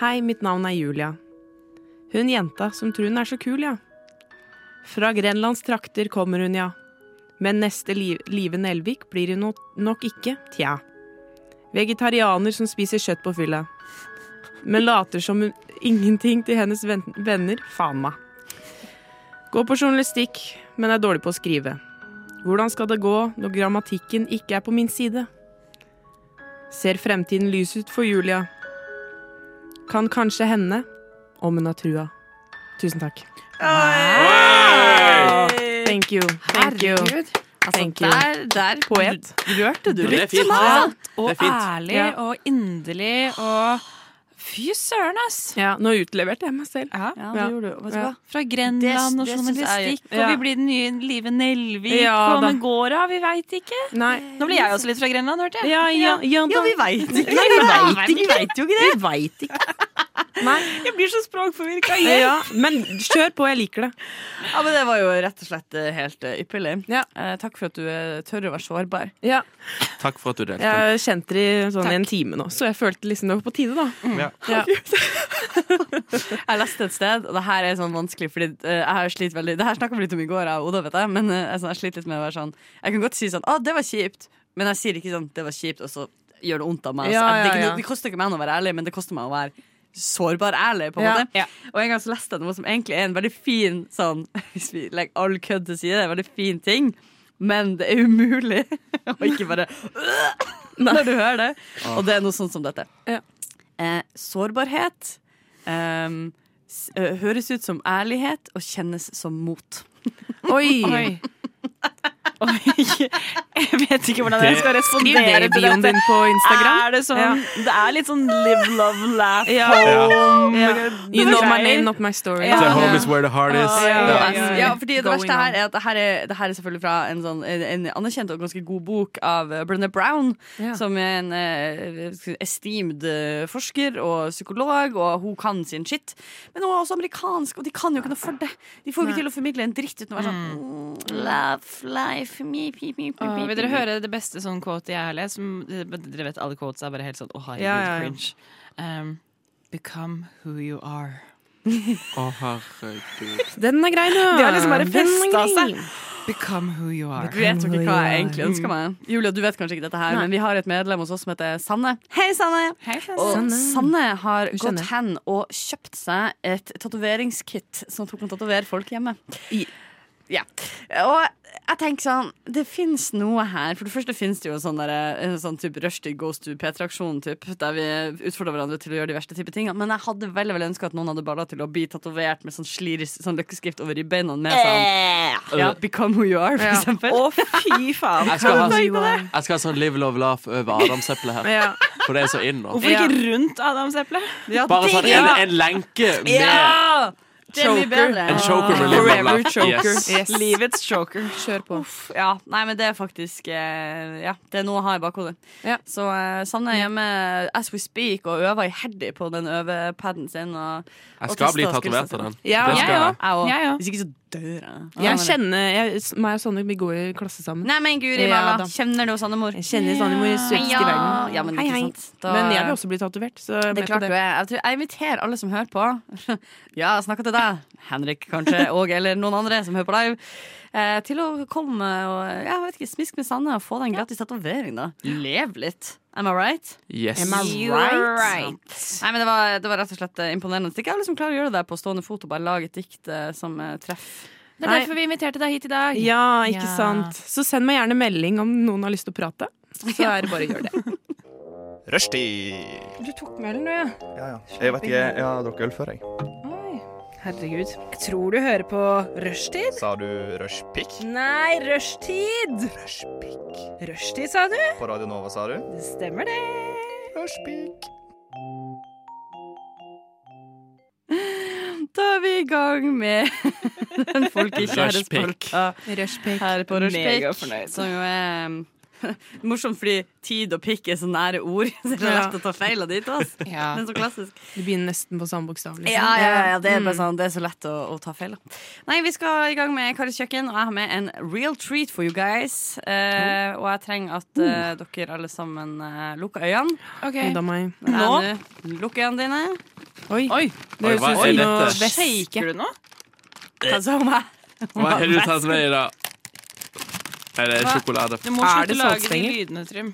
Hei, mitt navn er Julia. Hun jenta som tror hun er så kul, ja. Fra Grenlands trakter kommer hun, ja. Men neste liv, Live Nelvik blir hun nok- nok ikke, tja. Vegetarianer som spiser kjøtt på fylla. Men later som hun ingenting til hennes ven- venner, faen meg. Går på journalistikk, men er dårlig på å skrive. Hvordan skal det gå når grammatikken ikke er på min side? Ser fremtiden lys ut for Julia? Kan kanskje hende om hun har trua. Tusen takk. Thank you. Thank you. Thank you.
Altså, Der, der
Poet.
rørte du
Men det er fint.
Og
Det er fint.
ærlig
Ja.
og inderlig og Fy søren, ass!
Ja, nå utleverte jeg meg selv.
Ja.
Ja, det
Ja.
gjorde du. Vet du
Ja.
hva?
Fra Grenland
Det-
og
det synes jeg-
journalistikk, og
ja.
vi blir den nye Live Nelvik,
Ja,
og
da.
men går det av? Vi veit ikke.
Nei.
Nå blir jeg også litt fra Grenland, hørte jeg.
Ja, ja, ja,
Ja,
da.
vi veit ikke.
Nei, vi vet
Vi vet jo ikke det.
Vi veit ikke.
Jeg blir så språkforvirka
Ja, men kjør på, jeg liker det.
Ja, men Det var jo rett og slett eh, helt eh, ypperlig.
Ja.
Eh, takk for at du eh, tør å være sårbar.
Ja,
Takk for at du delte.
jeg har kjent det i sånn en time nå, så jeg følte liksom det var på tide, da.
Ja.
Jeg leste et sted, og det her er sånn vanskelig Fordi eh, jeg har slitt veldig Det her snakket vi litt om i går, jeg og Oda, vet jeg Men eh, jeg, sånn, jeg sliter litt med å være sånn Jeg kan godt si sånn, å det var kjipt Men jeg sier ikke sånn, det var kjipt Og så gjør det ondt av meg Så
Ja,
jeg- det, er
ja,
ikke
ja.
noe- det koster ikke meg noe å være ærlig Men det koster meg å være sårbar ærlig på en
Ja.
måte Og en gang så leste jeg noe som egentlig er en veldig fin sånn, Hvis vi legger all kødd til side Det er en veldig fin ting Men det er umulig Å ikke bare Når du hører det Og det er noe sånn som dette
Ah. Ja.
eh, Sårbarhet ehm, s- eh, høres ut som ærlighet og kjennes som mot.
Oi!
Oi. Oi. Jeg vet ikke hvordan jeg
Det-
skal
Skriv det
respondere
i
til
bioen
dette.
din på Instagram.
Er det, sånn,
Ja.
det er litt sånn live, love, laugh
Ja.
home.
Ja. You know my name, not my story.
Ja.
The home is where the heart is.
Ja, ja, ja.
Ja.
Ja, ja, fordi det
Going
verste her
on.
er at det her er, det her er selvfølgelig fra en, sånn, en- en anerkjent og ganske god bok av eh, Brené Brown,
Ja.
som er en eh, skal vi si, esteemed eh, forsker og psykolog, og hun kan sin shit. Men hun er også amerikansk, og de kan jo ikke noe for det. De får jo ikke til å formidle en dritt uten å være sånn mm, Love, life, me, me, me, me,
Åh,
me,
vil dere
me.
høre det beste sånn quote jeg har lest? Som, dere vet alle quotes er bare helt sånn Å, herregud,
Ja, ja, ja.
cringe. Um, become who you are.
Å, herregud.
Den er grei, da.
De har liksom bare
Den er
festet
grei.
seg. Become who you are.
Jeg vet jo ikke hva jeg egentlig ønsker meg. Mm. Julia, du vet kanskje ikke dette her, men vi har et medlem hos oss som heter Sanne. Hei, Sanne!
Hei, Sanne.
Og Sanne, har
Sanne.
gått hen og kjøpt seg et tatoveringskit, sånn at hun kan tatovere folk hjemme. Ja. Og jeg tenker sånn Det fins noe her. For det første fins det jo sånn derre- en sånn type rushtid goes to P3-aksjon, typ, der vi utfordrer hverandre til å gjøre de verste type tingene. Men jeg hadde veldig vel ønska at noen hadde baller til å bli tatovert med sånn sliris, sånn løkkeskrift over ribbeina med sånn ja, Become who you are, for eksempel.
fy faen.
Jeg skal, ha,
You are.
jeg skal ha sånn live, love, laugh over adamseplet her.
Ja.
For det er så in nå.
Hvorfor ikke rundt adamseplet?
Ja,
Bare sånn en,
ja.
en lenke med
Ja! Det er mye bedre.
en choker med live, love,
Forever
laugh.
choker.
Yes.
Yes.
Livets choker.
Kjør på.
Ja, nei, men det er faktisk eh, Ja, det er noe å ha i bakhodet.
Ja.
Så eh, Sanne er hjemme as we speak og øver iherdig på den øvepaden sin. Og,
Jeg skal bli tatovert av den.
Ja,
Det
jeg
skal jeg.
jeg òg.
Jeg òg.
Hvis ikke så dør jeg.
Jeg kjenner jeg, Meg og Sonne vi går i klasse sammen.
Nei, men guri
Ja,
malla.
da.
Kjenner du Sanne-mor?
Jeg kjenner Sonne mor i søtiske
ja.
verden.
Ja, men,
Hei,
ikke
hei.
sant? Da-
Men jeg vil også bli tatovert. Så
Det er
med på
klart du er. Jeg, tror, jeg inviterer alle som hører på. Ja, jeg snakker til deg, Henrik kanskje, og eller noen andre som hører på live, eh, til å komme og ja, jeg vet ikke, smisk med Sanne og få deg en gratis tatovering, da. Lev litt. Am I right?
Yes.
Am I
Nei, men det var, det var rett og slett eh, imponerende. At ikke alle som klarer å gjøre det der på stående fot og bare lage et dikt eh, som eh, treffer.
Det er derfor vi inviterte deg hit i dag.
Ja, ikke
Ja.
sant. Så send meg gjerne melding om noen har lyst til å prate. Så er det bare å gjøre det.
Rushtid!
Du tok med ølen, du, ja.
Ja, ja. Jeg vet ikke, jeg har drukket øl før, jeg.
Herregud. Jeg tror du hører på Rushtid.
Sa du rushpick?
Nei, rushtid!
Rushpick.
Rushtid, sa du?
På Radio Nova, sa du?
Det stemmer, det.
Rushpick.
Da er vi i gang med den
Rushpick.
folkekjærespalta
Rushpick.
her på
Mega
Rushpick.
fornøyd.
Som jo er um, morsomt fordi tid og pikk er så nære ord. Så det er
Ja.
lett å ta feil av de to. ass.
Ja.
Den er så klassisk.
Du begynner nesten på samme bokstav. Liksom.
Ja, ja, ja, det er bare sånn, det er så lett å, å ta feil. da. Nei, vi skal i gang med Karis kjøkken, og jeg har med en real treat for you guys. Eh, og jeg trenger at eh, dere alle sammen eh, lukker øynene.
Ok.
Hold av meg.
Det er
Nå?
nå. Lukk øynene dine.
Oi.
Oi,
Det
Oi,
høres
hva
ut
er
som noe
dette?
væske.
Shaker du nå?
Hva sa hun meg?
Hva har du tatt med i dag? Er det sjokolade?
Du må
Er
slutte
det
å lage de
saltstenger?
lydene, Trym.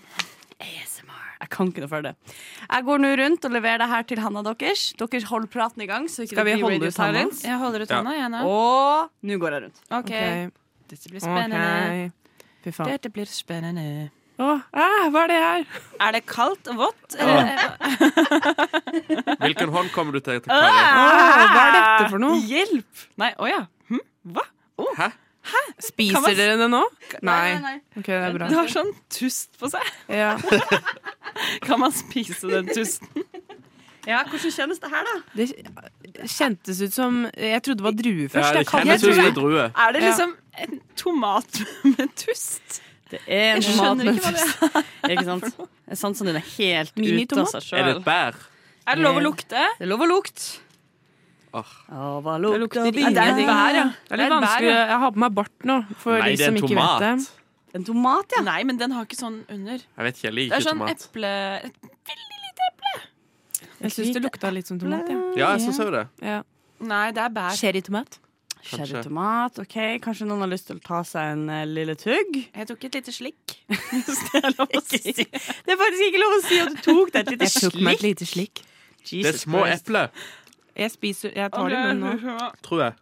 ASMR. Jeg kan ikke noe for det. Jeg går nå rundt og leverer det her til handa deres. Dere holder praten i gang. Så ikke
Skal
det
vi
blir
holde
radio
ut handa?
silence.
Jeg holder ut
Ja.
hånda, jeg nå.
Og nå går jeg rundt.
Ok.
Ok.
Dette blir spennende.
Ok. Fy faen.
Dette blir spennende.
Åh, ah, hva er det her?
Er det kaldt og vått?
Hvilken hånd kommer du til? Kari?
Ah!
Åh, hva er dette for noe?
Hjelp! Nei, å ja. Hm? Hva?
Hæ?
Kan man-
Spiser dere det nå? Nei. Ok, det er
Det
bra.
har sånn tust på seg.
Ja.
Kan man spise den tusten?
Ja, Hvordan kjennes det her, da?
Det kjentes ut som Jeg trodde det var drue
Ja,
først.
det
Jeg kan-
kjennes ut
jeg
som
tror
en drue.
Er det
Ja.
liksom en tomat med tust?
Det er en
Jeg
tomat
skjønner
med
ikke hva det er.
Ikke sant? Sansene dine er helt ute altså.
Minitomat?
av seg
Er det
sjøl.
et bær?
Er det lov å lukte?
Det er lov å lukte.
Åh.
Å, hva
Det
lukter
lukter
vin?
Det er et bær, ja.
Det er litt vanskelig. Jeg har på meg bart nå, for
Nei,
de
det er
som
en
ikke vet det.
tomat.
En tomat, ja.
Nei, men den har ikke sånn under.
Jeg vet ikke, jeg
Det
liker
er
ikke
sånn
tomat.
eple...
Jeg syns det lukta litt som tomat.
Ja, jeg syns jo det.
Ja.
Nei, det er bær.
Cherrytomat.
Cherrytomat. ok Kanskje noen har lyst til å ta seg en eh, lille tugg?
Jeg tok et lite slikk. Hvis det er lov å si.
Det er faktisk ikke lov å si at du tok deg et lite slikk.
lite slik.
Det er små epler,
Jeg spiser Jeg tar det i munnen nå.
tror jeg.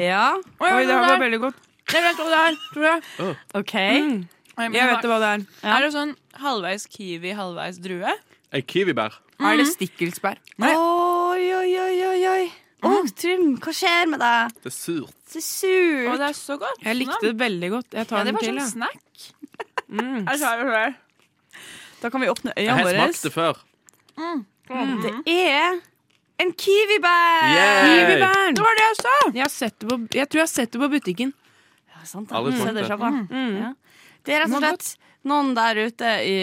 Ja,
Oi, det var veldig godt.
Jeg vet hva det er, tror jeg.
ok
Jeg vet hva det er.
Er det sånn halvveis kiwi, halvveis drue?
En kiwibær.
Er det stikkelsbær?
Nei.
Mhm. Oi, oi, oi, oi, oi. Å, Trym, hva skjer med deg?
Det er surt.
Det er
Og
surt.
det er så godt.
Jeg likte det veldig godt.
Sånn. Ja,
Jeg tar
det
den
var
til,
sånn
ja.
snack.
Mm.
Jeg tar det før.
Da kan vi åpne
Jeg
øynene
har
våre.
smakt det før.
Mm. Det er en kiwibær!
Yeah!
Kiwibæren!
Det var det jeg sa!
Jeg, har sett det på, jeg tror jeg har sett det på butikken.
Ja, sant,
Aldri
da.
smakt
Se der
det.
slapp av. Mm. Ja. Det er rett og slett noen der ute i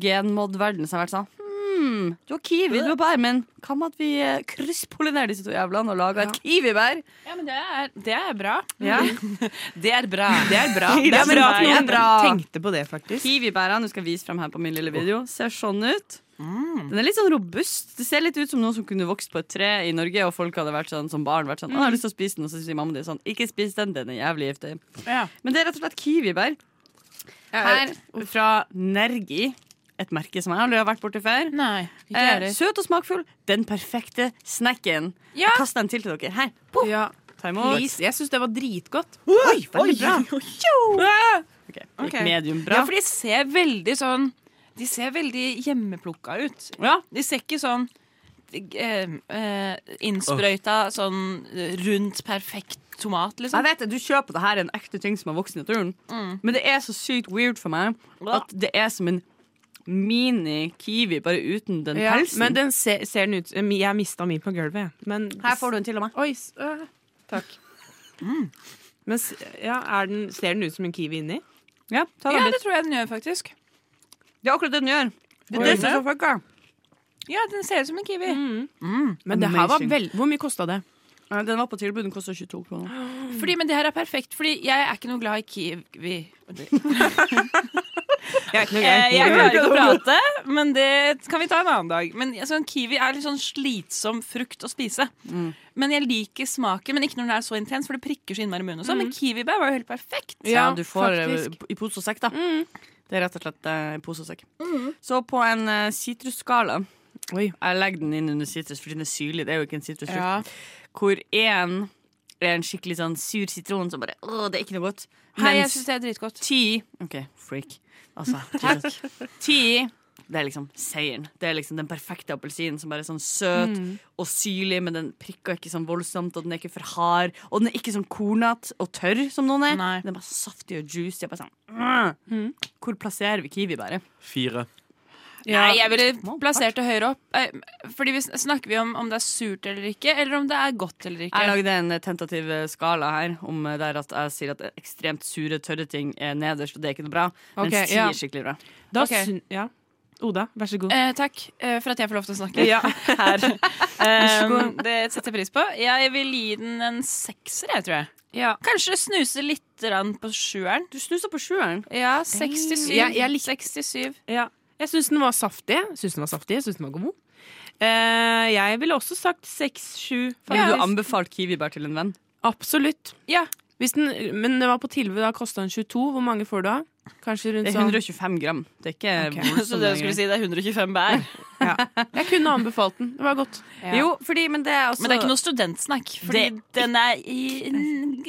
genmod-verdenen som har vært sånn hmm, du har kiwi, du har bær, men hva med at vi eh, krysspollinerer disse to jævlene og lager et kiwibær?
Ja, men det er, det er bra.
Ja.
Det er bra. Det er bra.
Det er bra at noen
Ah.
tenkte på det, faktisk.
Kiwibæren du skal vise frem her på min lille video, ser sånn ut. Den er litt sånn robust. Det ser litt ut som noe som kunne vokst på et tre i Norge, og folk hadde vært sånn som barn. vært sånn, å, jeg har lyst til å spise den, Og så sier mamma din sånn, ikke spis den, den er jævlig giftig.
Ja.
Men det er rett og slett kiwibær. Her fra Nergi, et merke som jeg aldri har vært borti før.
Nei, ikke jeg
Eh,
heller.
søt og smakfull, den perfekte snacken.
Ja.
Kast den til til dere. Her.
Ja.
Ta imot.
Please. Jeg syns det var dritgodt.
Oi, veldig bra.
Ah!
Ok,
Ok.
Medium bra.
Ja, for de ser veldig sånn De ser veldig hjemmeplukka ut.
Ja.
De ser ikke sånn eh, eh, innsprøyta sånn eh, rundt perfekt tomat,
Jeg
liksom.
vet at Du kjøper det her en ekte ting som har vokst i naturen, men det er så sykt weird for meg at det er som en mini-kiwi, bare uten den
Ja,
pelsen.
men den ser, ser den ut eh, Jeg mista min på gulvet, jeg. Men
her får du den til og med.
Oi, s- øh, takk.
Mm.
Men s- ja, er den, ser den ut som en kiwi inni?
Ja, ta
Ja,
den
det
litt.
tror jeg den gjør, faktisk.
Det er akkurat det den gjør. Det er
Oi.
det som er så fucka.
Ja, den ser ut som en kiwi.
Men det her var
Amazing.
vel, Hvor mye kosta det?
Ja, Den var på tilbud, den kosta 22 kroner.
Fordi, men det her er perfekt, fordi jeg er ikke noe glad i kiwi.
Jeg er ikke
Eh,
noe gøy.
jeg klarer ikke å prate, men det kan vi ta en annen dag. Men altså, en Kiwi er litt sånn slitsom frukt å spise. Men jeg liker smaken, men ikke når den er så intens, for det prikker så innmari i munnen. og sånn. Men kiwibær var jo helt perfekt.
Ja, Mm.
Ja,
du får eh,
faktisk.
i pose og sekk, da. Det er rett og slett eh, pose og sekk. Så på en eh, sitrusskala
Oi.
Jeg legger den inn under sitrus, for den er syrlig. Det er jo ikke en sitrusfrukt. Hvor én er en skikkelig sånn sur sitron som bare Å, det er ikke noe godt.
Hei, jeg
Mens-
syns det er dritgodt.
Ti OK, freak. Altså, Jesus. Ti det er liksom seieren. Det er liksom den perfekte appelsinen som bare er sånn søt og syrlig, men den prikker ikke sånn voldsomt, og den er ikke for hard. Og den er ikke sånn kornete og tørr som noen er.
Nei.
Den er bare saftig og juicy. Og bare sånn, mm. Hvor plasserer vi kiwibæret?
Fire.
Nei, jeg ville plassert det høyere opp. Eh, Fordi vi sn- Snakker vi om om det er surt eller ikke, eller om det er godt eller
Jeg
ikke?
lagde en eh, tentativ eh, skala her, om eh, der at jeg sier at ekstremt sure, tørre ting er nederst, og det er ikke noe bra.
Ok,
mens ti
ja.
er skikkelig bra.
Da
Ok.
syn- ja. Oda, vær så god.
Eh, takk eh, for at jeg får lov til å snakke
Ja.
her. Eh, det setter jeg pris på. Jeg vil gi den en sekser, jeg, tror jeg.
Ja.
Kanskje snuse litt grann på sjueren.
Du snuser på sjueren.
Ja, 67.
Jeg- jeg
67.
Ja. Jeg syns den var saftig. Jeg Syns den var saftig, jeg syns den var god. Eh, jeg ville også sagt seks, sju.
Har
Ja.
du anbefalt kiwibær til en venn?
Absolutt.
Ja.
Hvis den, men den var på tilbud, da kosta den 22. Hvor mange får du da? Kanskje rundt
Det er
sånn
125 gram. Det er ikke
Ok.
voldsomt
Så det
mange.
skulle si det er 125 bær.
Jeg kunne anbefalt den. Det var godt.
Jo, fordi, men det er også
Men det er ikke noe studentsnakk, fordi
Det-
den er i, n-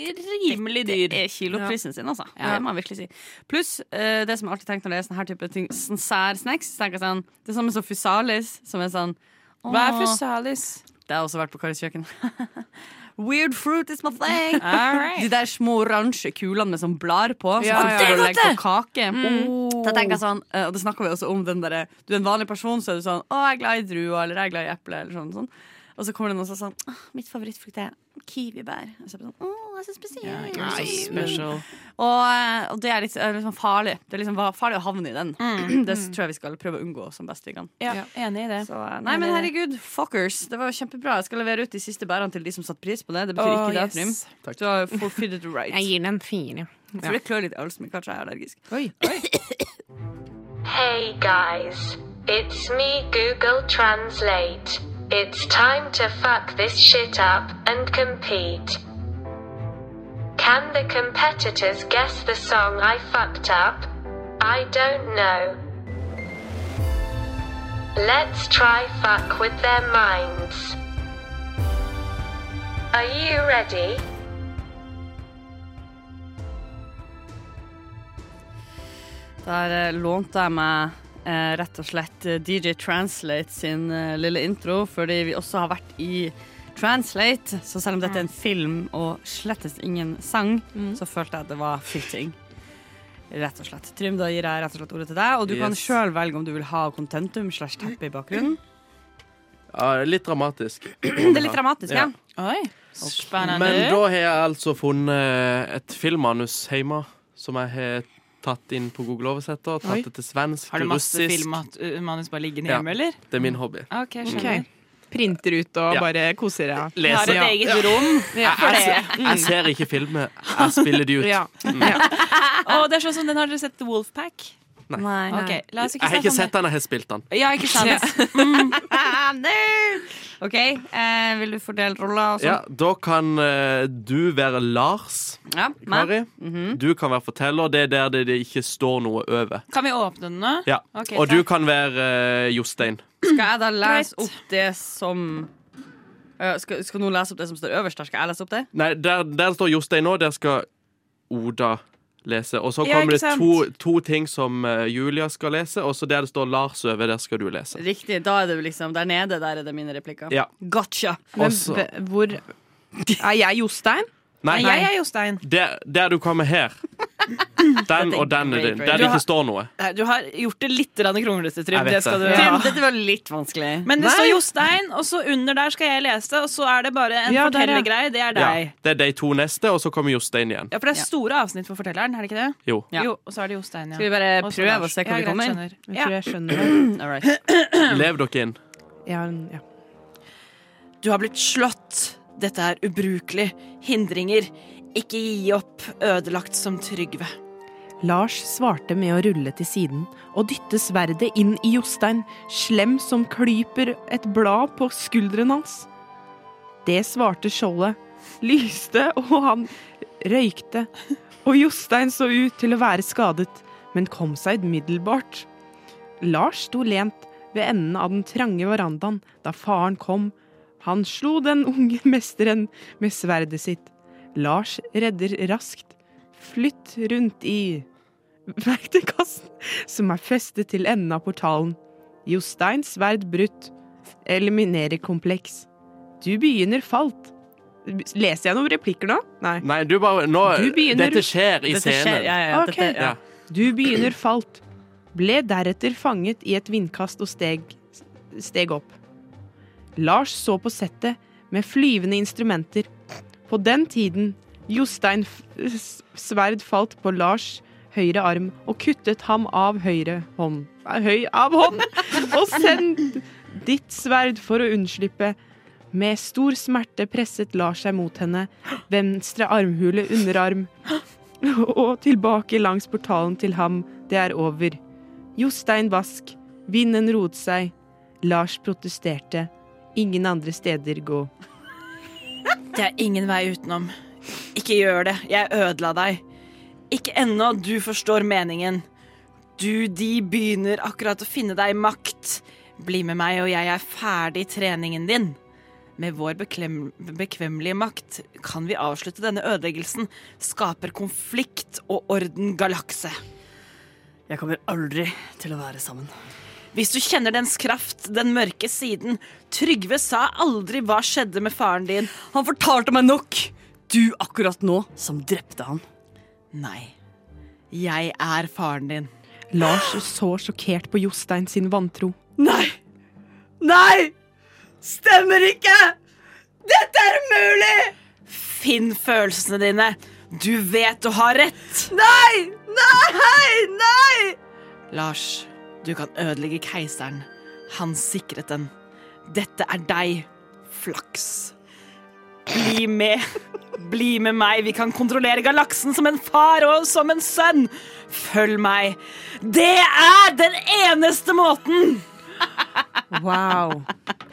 rimelig dyr.
det er kiloprisen sin, altså.
Ja.
Det må jeg virkelig si. Pluss eh, det som jeg alltid tenker når det er sånne her type ting, sånn særsnacks. så tenker jeg Sånn, det samme som fusalis, som er sånn
Hva er
«Åh,
fusalis?
Det har jeg også vært på Karis kjøkken. Weird fruit is my thing.
All right.
De der små oransje kulene med sånn blar på, som
Ja,
folk
ja.
står
Det er
og
godt,
legger på kake. Så jeg Mm. tenker sånn, eh, og det snakker vi også om den derre Du er en vanlig person, så er du sånn Å, jeg er glad i druer, eller jeg er glad i eple, eller sånn. sånn. Og så kommer det noen som er sånn «Åh, Mitt favorittfrukt er kiwibær. Og så er jeg bare sånn, Å,
Han er så spesiell.
Nei, men-
Special.
Og, eh, og det er litt, er litt sånn farlig. Det er liksom va- farlig å havne i den.
Mm.
Det tror jeg vi skal prøve å unngå som best vi kan.
Ja, enig i det.
Så, eh, nei, men herregud, fuckers. Det var jo kjempebra. Jeg skal levere ut de siste bærene til de som satte pris på det. Det betyr
Åh,
ikke det,
yes.
Trym.
Takk.
Du har fulfilled it right.
Jeg gir den en fire.
Jeg tror det klør litt i halsen min. Kanskje jeg er allergisk.
Oi.
Hey guys, it's me Google Translate. It's time to fuck this shit up and compete. Can the competitors guess the song I fucked up? I don't know. Let's try fuck with their minds. Are you ready?
Der eh, lånte jeg meg eh, rett og slett eh, DJ Translate sin eh, lille intro, fordi vi også har vært i Translate. Så selv om dette er en film og slettes ingen sang, så følte jeg at det var fitting. Rett og slett. Trym, da gir jeg rett og slett ordet til deg, og du kan
Yes.
sjøl velge om du vil ha contentum slash teppe i bakgrunnen.
Ja, det er litt dramatisk.
Det er litt dramatisk, ja.
Ja.
Oi, spennende.
Men da har jeg altså funnet et filmmanus hjemme som jeg har tatt inn på Google-oversetter.
Oi.
Tatt det til svensk,
har du
til
masse
russisk.
filmmanus bare liggende
Ja.
hjemme, eller?
Det er min hobby.
Ok, skjønner.
Printer ut og
Ja.
bare koser deg.
Jeg har et
Ja.
eget rom for det.
Jeg ser ikke filmer. Jeg spiller de ut.
Ja.
Å, det er sånn som den har dere sett The Wolfpack?
Nei.
Ok, la oss
Jeg
ikke
har
snakke
ikke
om
sett
det.
den, jeg har spilt den.
Ja, ikke sant?
OK, eh, vil du fordele roller og
Ja,
sånn?
da kan eh, du være Lars,
Ja. meg.
Kari. Du kan være forteller. Det er der det det ikke står noe over.
Kan vi åpne den nå?
Ja.
Ok,
Og du
takk.
kan være eh, Jostein.
Skal jeg da lese opp det som Eh, skal, skal noen lese opp det som står øverst her? Skal jeg lese opp det?
Nei, der, der står Jostein nå. Der skal Oda lese. Og så
Ja,
kommer
ikke
det to, to ting som eh, Julia skal lese, og så der det står Lars over, der skal du lese.
Riktig. Da er det jo liksom der nede. Der er det mine replikker.
Ja.
Gotcha!
Men
Også-
b- hvor Er jeg Jostein?
Nei,
Nei, jeg er Jostein.
Der, der du kommer her. Den og den er din. Der det ikke står noe.
Du har gjort det litt kronglete,
Jeg
Trym.
vet
Det skal du
det.
ha.
Trym, dette var litt vanskelig.
Men det står Jostein, og så under der skal jeg lese, og så er det bare en
Ja, der, ja.
fortellergreie. Det er
Ja,
deg.
det er de to neste, og så kommer Jostein igjen.
Ja, for det
Ja.
er store avsnitt for fortelleren, er det ikke det?
Jo.
Ja.
Jo, og så er det Jostein, ja.
Skal vi bare
Og så
prøve
Lars.
å se
Ja,
hvor vi
greit,
kommer?
skjønner.
Jeg
Ja.
tror jeg skjønner det.
All right.
Lev dere inn.
Jeg har en- ja.
Du har blitt slått. Dette er ubrukelig. Hindringer. Ikke gi opp. Ødelagt som Trygve.
Lars svarte med å rulle til siden og dytte sverdet inn i Jostein, slem som klyper et blad på skulderen hans. Det svarte skjoldet, lyste, og han røykte. Og Jostein så ut til å være skadet, men kom seg umiddelbart. Lars sto lent ved enden av den trange verandaen da faren kom. Han slo den unge mesteren med sverdet sitt. Lars redder raskt. Flytt rundt i verktøykassen som er festet til enden av portalen. Josteins sverd brutt. Eliminere kompleks. Du begynner falt. Leser jeg noen replikker nå? Nei.
Nei, du bare Nå
Du begynner-
Dette skjer i
Dette
scenen.
skjer. Ja, ja,
Ok.
dette, ja.
Ja.
Du begynner falt. Ble deretter fanget i et vindkast og steg, steg opp. Lars så på settet med flyvende instrumenter. På den tiden Jostein f- s- sverd falt på Lars høyre arm og kuttet ham av høyre hånd. eh, Høy av hånd! Og send ditt sverd for å unnslippe. Med stor smerte presset Lars seg mot henne. Venstre armhule, underarm og tilbake langs portalen til ham, det er over. Jostein vask, vinden roet seg, Lars protesterte, ingen andre steder gå.
Det er ingen vei utenom. Ikke gjør det. Jeg ødela deg. Ikke ennå. Du forstår meningen. Du, de begynner akkurat å finne deg makt. Bli med meg, og jeg er ferdig treningen din. Med vår beklem bekvemmelige makt kan vi avslutte denne ødeleggelsen. Skaper konflikt og orden galakse.
Jeg kommer aldri til å være sammen.
Hvis du kjenner dens kraft, den mørke siden. Trygve sa aldri hva skjedde med faren din.
Han fortalte meg nok! Du akkurat nå som drepte han.
Nei. Jeg er faren din.
Lars så sjokkert på Jostein sin vantro.
Nei! Nei! Stemmer ikke! Dette er umulig!
Finn følelsene dine. Du vet du har rett.
Nei! Nei! Nei!
Lars, du kan ødelegge keiseren. Han sikret den. Dette er deg. Flaks. Bli med. Bli med meg. Vi kan kontrollere galaksen som en far og som en sønn. Følg meg. Det er den eneste måten!
Wow.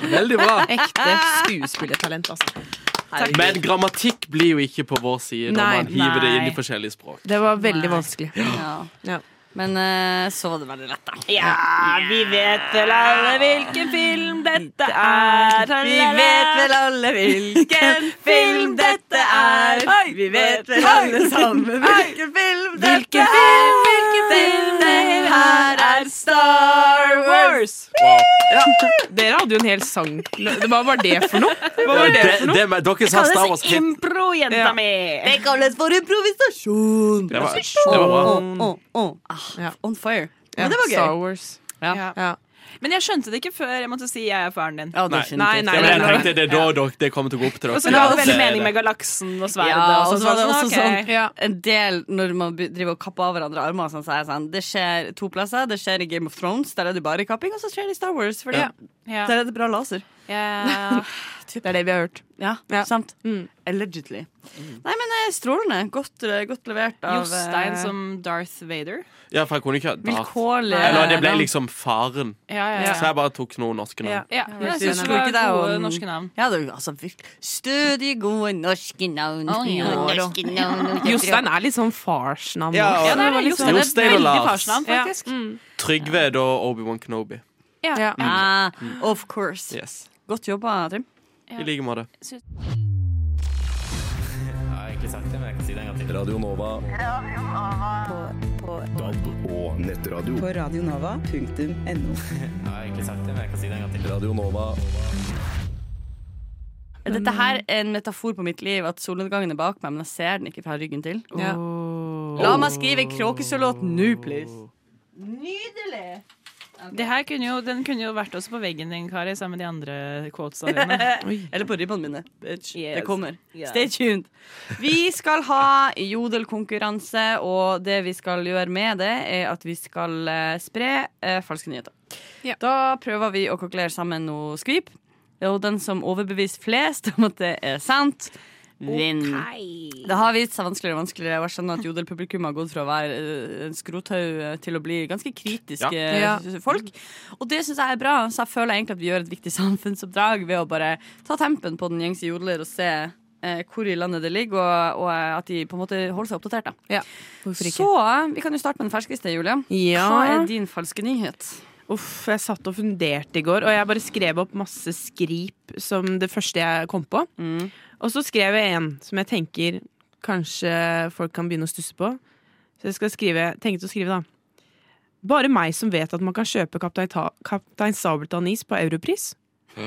Veldig bra.
Ekte skuespillertalent, altså.
Men grammatikk blir jo ikke på vår side når
Nei,
man hiver det inn
nei.
i forskjellige språk.
Det var veldig vanskelig.
Ja.
Ja.
Men eh, så var det veldig lett, da.
Ja, vi vet vel alle hvilken film dette er.
Vi vet vel alle hvilken film dette er. Vi vet vel alle sammen hvilken film dette er. Denne her er Star Wars.
Dere hadde jo en hel sang. Hva var det for noe? Hva var det for
Det,
noe?
det, men dere sa Star Wars
Kalles
Kid.
impro, jenta
Ja.
mi.
Det kalles for improvisasjon.
Det var, det var bra.
Å, å, å. Ah,
Ja.
On fire.
Ja,
Men det var gøy.
Star Wars.
Ja.
Ja.
Men jeg skjønte det ikke før jeg måtte si jeg er faren din.
Ja,
Nei,
definitivt.
nei, nei,
Ja, men jeg
nei,
tenkte det er da dere, det kommer til å gå opp til dere.
Og så ga det
Ja,
veldig
det er
mening
det.
med galaksen og sverdet.
Ja,
og
og så var det også
ok.
sånn
Ja.
En del når man be- driver og kapper av hverandre armer, og sånn, så er det sånn Det skjer to plasser. Det skjer i Game of Thrones, der er det bare kapping, og så skjer det i Star Wars, fordi
Ja.
der er det bra laser.
Ja.
Det er det vi har hørt.
Ja,
Ja.
sant?
Mm.
Allegedly. Nei, men eh, strålende. Godt, eh, godt levert av
Jostein
eh,
som Darth Vader.
Ja, for jeg kunne ikke ha Darth.
vilkårlig
Eller det ble
navn.
liksom faren.
Ja, ja,
Så jeg bare tok noen norske
Ja.
navn.
ja. Jeg synes det
Tror
var
ikke det er
gode
om-
norske navn.
Ja, det er jo altså virkelig Stødig, gode norske navn.
Å, ja.
Gode norske navn.
Jostein er litt sånn farsnavn.
Ja,
også.
og-
Ja, det er det. Jostein er et
Jostein og
veldig
Lars.
farsnavn, faktisk.
Ja. Mm.
Trygve da Obi-Wan Kenobi.
Ja.
Ja.
Ah, of course.
Yes.
Godt jobba, Trym.
I like måte.
Jeg har egentlig sagt det, men jeg kan si det en gang til.
Radio Nova. DAB og nettradio.
Jeg har egentlig sagt det, men jeg kan si det en gang til.
Radio Nova.
Er Dette her er en metafor på mitt liv, at solnedgangen er bak meg, men jeg ser den ikke fra ryggen til.
Ja.
La meg skrive en kråkesølåt nå, please.
Det her kunne jo, den kunne jo vært også på veggen din, Kari, sammen med de andre quotesa dine.
Eller på ribbene mine. Bitch.
Yes.
Det kommer.
Yeah.
Stay tuned. Vi skal ha jodelkonkurranse, og det vi skal gjøre med det, er at vi skal eh, spre eh, falske nyheter.
Ja.
Da prøver vi å kokkelere sammen noe skvip, og den som overbeviser flest om at det er sant, vinner. Det har vist seg vanskeligere og vanskeligere. Og jeg skjønner at jodelpublikum har gått fra å være eh, en skrothaug eh, til å bli ganske kritiske eh,
Ja.
folk. Og det syns jeg er bra, så jeg føler egentlig at vi gjør et viktig samfunnsoppdrag ved å bare ta tempen på den gjengse jodler og se eh, hvor i landet det ligger, og, og eh, at de på en måte holder seg oppdatert. Da.
Hvorfor ikke?
Så eh, vi kan jo starte med den ferskeste, Julie.
Ja.
Hva er din falske nyhet?
Uff, jeg satt og funderte i går, og jeg bare skrev opp masse skrip som det første jeg kom på.
Mm.
Og så skrev jeg en som jeg tenker kanskje folk kan begynne å stusse på. Så jeg skal skrive, tenkte å skrive da. Bare meg som vet at man kan kjøpe Kaptein, Ta Kaptein Sabeltann-is på europris.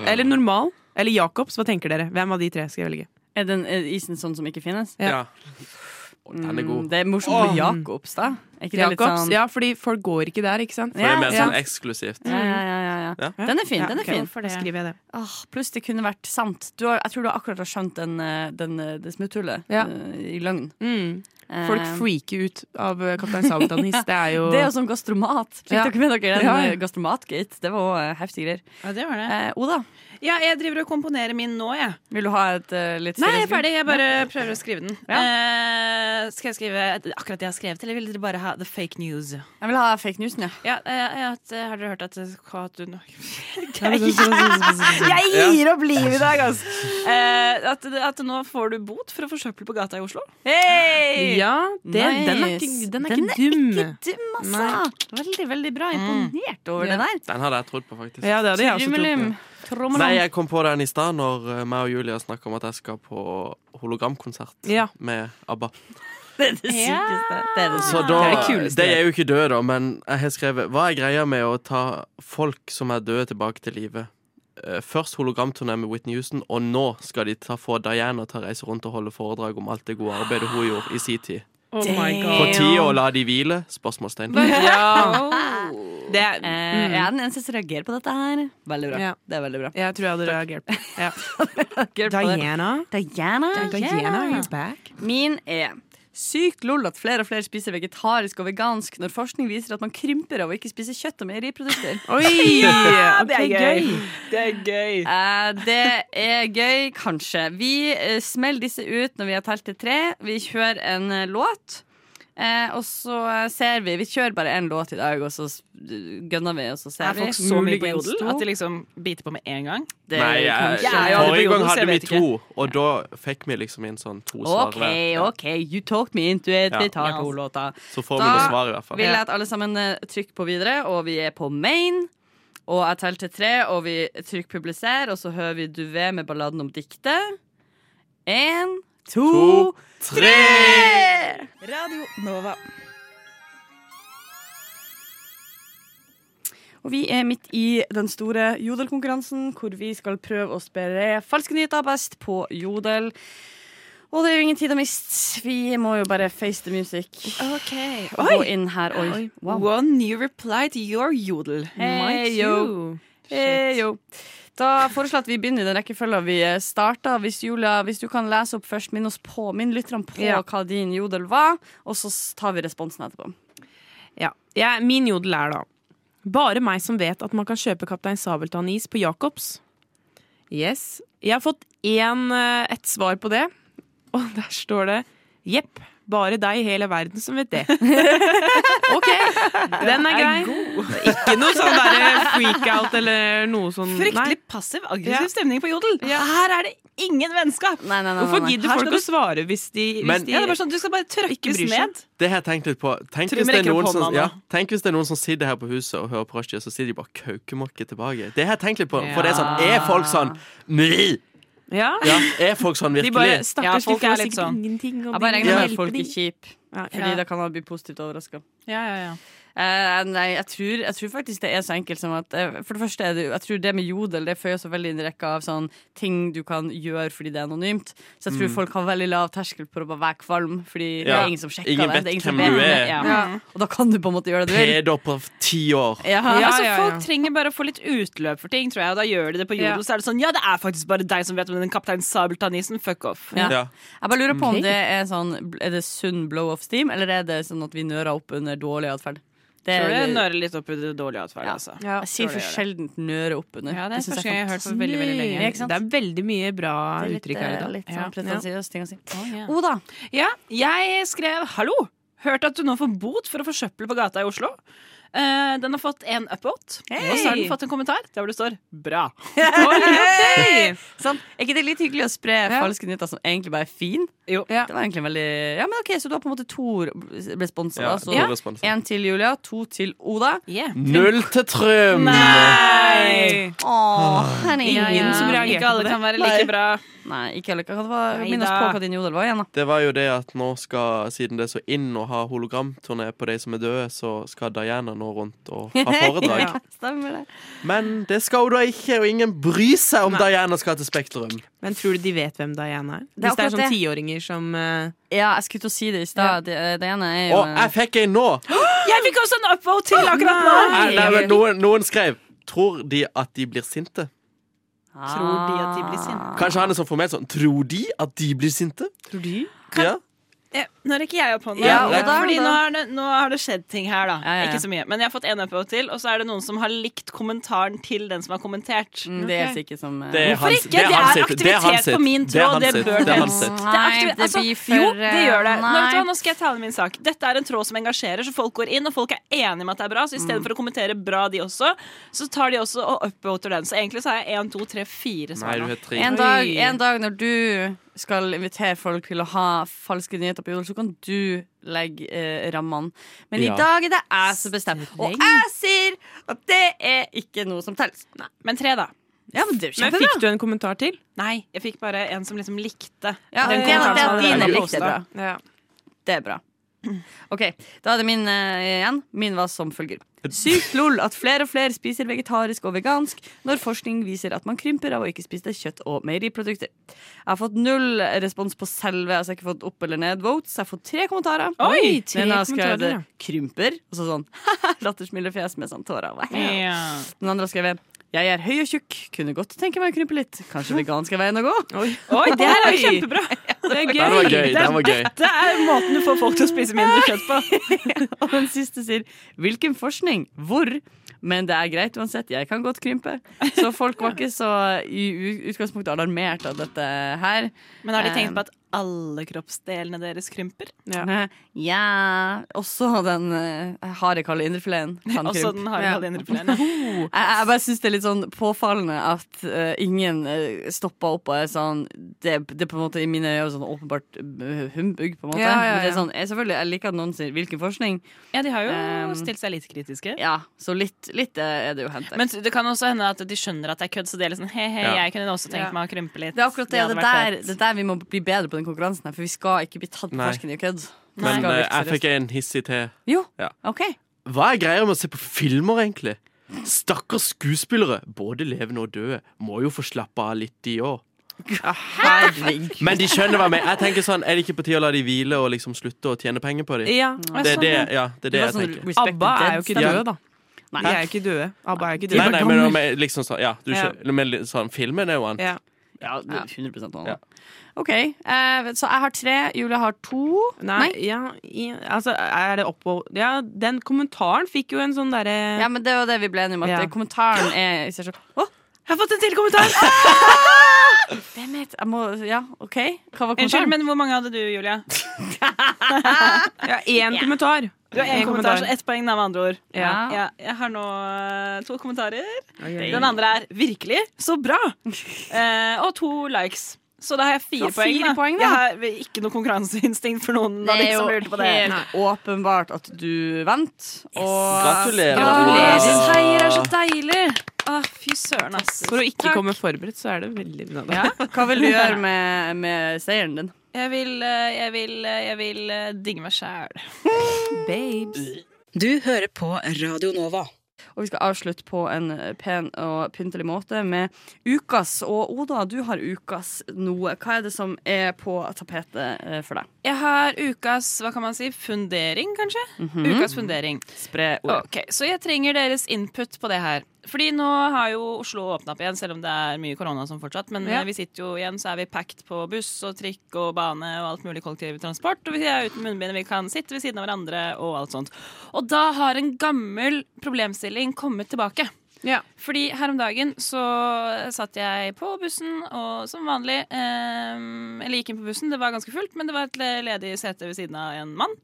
Eller normal. Eller Jacobs, hva tenker dere? Hvem av de tre skal jeg velge?
Er den er isen sånn som ikke finnes?
Ja.
Ja. Å, Den er
Mm,
god.
det er morsomt med Jacobs, da. Er ikke det litt
Jacobs?
sånn
Ja, fordi folk går ikke der, ikke sant?
For det er
Ja,
mer
ja.
sånn eksklusivt.
Ja, ja, ja, ja, ja.
Ja.
Den er fin. den er
ok,
fin
da skriver jeg det.
Åh, pluss det kunne vært sant. Du har, jeg tror du akkurat har skjønt den, eh, den, eh, det smutthullet
Ja.
eh, i løgn.
Mm.
Eh,
Folk freaker ut av eh, Kaptein Sabeltann-is. Det er jo
det er jo som gastromat. Fikk
Ja.
dere med dere den
Ja, ja.
eh, gastromatgate? Det var òg heftige greier.
Ja, det var det.
Eh, Oda,
Ja, jeg driver og komponerer min nå, jeg.
vil du ha et eh, litt
Nei, jeg
seriøst
er ferdig. Jeg bare prøver å skrive den.
Ja.
Eh, skal jeg skrive akkurat det jeg har skrevet, eller vil dere bare ha the fake news?
bud? Jeg vil ha fake newsen, ja.
Ja, eh, jeg, at, eh, har dere hørt at eh, Katun
Jeg
gir
opp livet i dag, altså!
Eh, at, at nå får du bot for å forsøple på gata i Oslo?
Hey!
Ja, det, den er ikke, den er ikke dum.
Ikke dum,
Nei.
altså. Veldig, veldig bra. Imponert over det
Ja.
der.
Den hadde jeg trodd på, faktisk.
Ja, det hadde jeg også trodd.
Trummelum. Trommelum.
Nei, jeg kom på den i stad når eh, meg og Julia snakka om at jeg skal på hologramkonsert
på. Ja.
med ABBA.
Det er det sykeste. Det er Ah, det
Så
sykeste.
da,
Det er det
det,
kuleste.
er jo ikke død, da, men jeg har skrevet Hva er greia med å ta folk som er døde, tilbake til live? Eh, Først hologramturné med Whitney Houston, og nå skal de ta få Diana til å reise rundt og holde foredrag om alt det gode arbeidet hun gjorde i sin tid.
Oh my
På
god.
tide å la de hvile? Spørsmålstegn.
Ja.
Det er, mm.
Eh, Jeg er den eneste som reagerer på dette her. Veldig bra.
Ja.
Det er veldig bra.
Jeg tror jeg hadde reagert på ja.
Reagerer på det.
Diana.
Diana.
Oh, Diana, you're back.
Min er Sykt lol at flere og flere spiser vegetarisk og vegansk når forskning viser at man krymper av å ikke spise kjøtt og meieriprodukter.
Oi!
det er
ok,
gøy.
gøy.
det er gøy.
Eh, det er gøy, kanskje. Vi eh, smeller disse ut når vi har telt til tre. Vi kjører en eh, låt. Eh, og så eh, ser vi Vi kjører bare én låt i dag, og så s- eh, gønner vi, og så ser
Er
vi.
folk så mye på
Muligens
jodel
to.
at de liksom biter på med en gang?
Det er
Nei, jeg,
kanskje-
jeg er aldri
forrige
på
gang
Jonas,
hadde
jeg
vi
vet
to, og da fikk vi liksom inn sånn to svar
OK,
hver. Ja.
OK, you talked me into it. Vi
Ja.
tar to låter.
Så får vi
Da
noe svar, i hvert fall.
vil jeg at alle sammen eh, trykker på videre, og vi er på main. Og jeg teller til tre, og vi trykker publiser, og så hører vi Duvet med balladen om diktet. Én, to,
To, tre!
Radio Nova.
Og vi er midt i den store jodelkonkurransen, hvor vi skal prøve å spre falske nyheter best på jodel. Og det er jo ingen tid å miste. Vi må jo bare face the music.
Ok.
Og gå inn her. Oi. Wow.
One new reply to your jodel.
Hey, yo. Hey, yo. Eh, Da foreslår jeg at vi begynner i den rekkefølgen vi starta. Hvis, Julia, hvis du kan lese opp først, minn oss på, minn lytterne på
Ja.
hva din jodel var, og så tar vi responsen etterpå.
Ja. Jeg- min jodel er da Bare meg som vet at man kan kjøpe Kaptein Sabeltann-is på Jacobs. Yes. Jeg har fått én, eh, ett svar på det, og der står det Jepp. Bare deg i hele verden som vet det. OK, den er grei. Det er Ikke noe sånn derre freak-out eller noe sånn
Fryktelig
Nei.
passiv,
Ja.
aggressiv stemning på jodel. Her er det ingen vennskap.
Nei, nei, nei, nei,
Hvorfor
nei.
gidder
Her
folk
skal
å svare hvis de, hvis
Men-
de
Ja, det er bare sånn, Du skal bare trøkkes
bryr seg.
ned.
Det har jeg tenkt litt på. Tenk
Tror
hvis,
vi
det er
rekker opp
noen som,
hånda nå.
ja, tenk hvis det er noen som sitter her på huset og hører på Rushdie, så sitter de bare kaukemåke tilbake. Det har jeg tenkt litt på. For det er sånn, er folk sånn Nei!
Ja.
Ja, er folk sånn
De bare
virkelig?
Ja,
Stakkars, de
folk er
får
litt
sikkert
sånn.
ingenting. og
Jeg bare
de
regner med
hjelper
at folk
de.
er kjipe,
Ja,
fordi da kan man bli positivt overraska.
Ja, ja, ja.
Eh, nei, jeg tror, jeg tror faktisk det er så enkelt som at eh, For det første er det jo Jeg tror det med jodel Det føyer seg veldig inn i rekka av sånn ting du kan gjøre fordi det er anonymt. Så jeg tror folk har veldig lav terskel for å bare være kvalm, fordi det
Ja.
er ingen som sjekker
Ingen
det.
vet
det er ingen som
hvem du
vet
er.
det. Ja. Og da kan du på en måte gjøre det du vil.
Pedo på ti år.
Ja.
Ja,
Altså,
altså,
ja,
Folk
ja.
trenger bare å få litt utløp for ting, tror jeg. Og da gjør de det på jodel.
Ja.
Så er det sånn, ja, det er faktisk bare deg som vet om den kaptein Sabeltann-isen. Fuck off.
Ja.
Ja.
Jeg bare lurer på om det er sånn Er det sunn blow off steam, eller er det sånn at vi nører opp under dårlig atferd? Det
Tror
er-
du nører litt opp i det dårlige atferdet,
Ja.
altså.
Ja.
Jeg sier
tror
for
det gjør
sjelden nøre opp under.
Ja, det er
synes
første gang jeg har hørt på veldig, veldig lenge.
Ja, ikke sant?
Det er veldig mye bra
Det er litt,
uttrykk her i
eh,
dag.
Litt sånn
Ja.
pretensiøs ting å si.
ja.
Oda.
Ja, jeg skrev 'hallo'. Hørte at du nå får bot for å forsøple på gata i Oslo. Eh, den har fått en upvote, og så har den fått en kommentar der hvor det står 'bra'.
Oi, ok.
Sant? Sånn, Er ikke det litt hyggelig å spre falske nyheter som egentlig bare er fin?
Jo.
Det var egentlig veldig Ja, men ok, Så du har på en måte to responser.
Ja,
da, så
to responser.
En til Julia, to til Oda.
Yeah.
Null til Trym!
Nei!
Åh, honey.
Ingen som reagerer.
Ikke alle kan være like bra.
Nei, ikke heller. Hva det var-
Nei
Minn oss
da.
på hva din jodel var igjen, da.
Det var jo det at nå skal, siden det er så inn å ha hologramturné på de som er døde, så skal Diana nå rundt og ha foredrag.
Ja, Stemmer det.
Men det skal hun da ikke, og ingen bryr seg om Diana skal til Spektrum.
Men tror du de vet hvem Diana er?
er
Hvis det er
akkurat
sånn
det.
tiåringer som eh,
Ja, jeg skulle til å si det i stad. Det, det ene er jo
Og jeg fikk en nå!
Jeg fikk også en upvote til akkurat nå!
Nei, nei, men noen, noen skrev Tror de at de blir sinte?
Ah.
Tror de at de blir sinte?
Kanskje han er sånn formelt sånn Tror de at de blir sinte? Tror de? Ja.
Eh, Nå rekker jeg opp hånda.
Ja, og
da-
fordi
da-
nå, er det, nå har det skjedd ting her, da.
Ja, ja, ja.
Ikke så mye. Men jeg har fått en upvote til, og så er det noen som har likt kommentaren til den som har kommentert.
Mm, Det er sikkert som eh,
Det er
Hvorfor
hans-
ikke? Det
hans
er
sitt. Det er hans
aktivitet på
sitt.
min
Det er
tråd,
hans
det
sitt.
bør
Det er
til.
hans sitt.
Det er aktiv-
Nei, det
altså,
blir for, eh,
jo, det gjør det.
eh,
Nå,
nei.
vet du hva, nå skal jeg tale min sak. Dette er en tråd som engasjerer, så folk går inn, og folk er enige med at det er bra. Så i
Mm.
stedet for å kommentere bra, de også, så tar de også og upvoter den. Så egentlig så har jeg én, to, tre, fire
Nei,
svar.
du
nå.
har tre.
En dag, en dag når du skal invitere folk til å ha falske nyheter på jord, så kan du legge eh, rammene. Men
Ja.
i dag er det jeg som bestemmer. Og jeg sier at det er ikke noe som teller.
Men tre, da.
Ja, men det er jo
Men
kjempebra.
fikk du en kommentar til?
Nei, jeg fikk bare en som liksom likte.
Ja,
den
det er
kommentaren
at
som
dine
hadde
likte
postet.
bra. Det er bra. Ok, Da er det min eh, igjen. Min var som følger. Sykt lol at flere og flere spiser vegetarisk og vegansk når forskning viser at man krymper av å ikke spise kjøtt og meieriprodukter. Jeg har fått null respons på selve, altså jeg har ikke fått opp eller ned votes. Jeg har fått tre kommentarer.
Oi,
tre
Den har skrevet eh,
kommentarer, ja.
'krymper', og så sånn lattersmilefjes med sånn tårer.
Ja.
Den andre har skrevet 'jeg er høy og tjukk, kunne godt tenke meg å krympe litt'. Kanskje vegansk er veien å gå?
Oi, det her er jo kjempebra! Det er
Den var gøy. Den var gøy.
Dette er måten du får folk til å spise mindre kjøtt på.
Og den siste sier 'Hvilken forskning? Hvor?' Men det er greit uansett, jeg kan godt krympe. Så folk var ikke så i u- utgangspunktet alarmert av dette her.
Men har de
Eh,
tenkt på at alle kroppsdelene deres krymper?
Eh, Ja Også den uh, harde, kalde indrefileten kan
Også
krympe.
den har alle indre plenene.
Jeg, jeg bare syns det er litt sånn påfallende at eh, ingen uh, stoppa opp og er sånn Det, det er på en måte i mine øyne sånn åpenbart eh, humbug, på en måte.
Ja, ja,
Men det er
ja.
sånn, jeg, selvfølgelig, jeg liker at noen sier 'hvilken forskning'.
Ja, de har
Ehm.
Um,
jo stilt seg litt kritiske.
Ja, så litt, litt eh, er det jo hentet.
Men det kan også hende at de skjønner at det er kødd, så de er litt sånn he he,
Ja.
jeg kunne også
Ja.
tenkt meg å krympe litt.
Det er akkurat det, og
hadde
det,
vært
der,
fett.
det er der vi må bli bedre på den konkurransen her, for vi skal ikke bli tatt på
Nei.
fersken i kødd. Vi
Men
skal
eh,
virke
jeg fikk
seriøst.
en hissig til.
Jo,
Ja.
ok.
Hva er greia med å se på filmer, egentlig? Stakkars skuespillere, både levende og døde, må jo få slappe av litt, de òg.
Herregud.
Men de skjønner hva jeg mener. Jeg tenker sånn, Er det ikke på tide å la de hvile og liksom slutte å tjene penger på dem?
Ja.
sånn
sånn
Det er det, ja, det, er det
var
jeg
sånn
tenker.
respect
ABBA
the
er jo ikke
dead
døde,
stemning.
da. De er jo ikke døde. ABBA er ikke
Nei,
døde.
nei, men om jeg liksom sånn, ja, du
Ja.
skjønner, men litt sånn, filmen er jo han.
Ja.
Ja, det er 100 noe.
Ja.
OK, eh, så jeg har tre, Julie har to.
Nei, ja, i, altså, er det oppå Ja, den kommentaren fikk jo en sånn derre
Ja, men det var det vi ble enige om. At
Ja.
eh, kommentaren er i seg selv Å,
Jeg har fått en til kommentar!
damn it! Jeg må Ja, OK. Hva var
Unnskyld,
kommentaren?
men hvor mange hadde du, Julia?
Ja, én kommentar.
Du har én
En
kommentar, så
kommentar.
ett poeng, da, med andre ord.
ja.
Ja, jeg har nå eh, to kommentarer. Den andre er 'virkelig så bra'. Eh, og to likes. Så da har jeg fire,
Du har fire poeng, da.
Jeg har ikke noe konkurranseinstinkt for noen.
Det
av de
er
som
jo
lurte på det.
helt åpenbart at du vant. Og
Gratulerer.
Gratulerer.
Wow.
Seier er så deilig!
Å, fy søren, ass.
For å ikke komme forberedt, så er det veldig
Ja. Hva vil du gjøre med, med seieren din?
Jeg vil, eh, jeg vil, eh, jeg vil eh, digge meg sjæl.
Babes.
Du hører på Radio Nova.
Og vi skal avslutte på en pen og pyntelig måte med ukas. Og Oda, du har ukas noe. Hva er det som er på tapetet eh, for deg?
Jeg har ukas hva kan man si, fundering, kanskje?
Mhm.
Ukas fundering.
Spre ordet.
Ok, Så jeg trenger deres input på det her. Fordi nå har jo Oslo åpna opp igjen, selv om det er mye korona som fortsatt. Men
Ja.
eh, vi sitter jo igjen, så er vi packed på buss og trikk og bane og alt mulig kollektivtransport. Og vi er uten munnbind, vi kan sitte ved siden av hverandre og alt sånt. Og da har en gammel problemstilling kommet tilbake.
Ja.
Fordi her om dagen så satt jeg på bussen, og som vanlig ehm, Eller gikk inn på bussen, det var ganske fullt, men det var et le- ledig sete ved siden av en mann.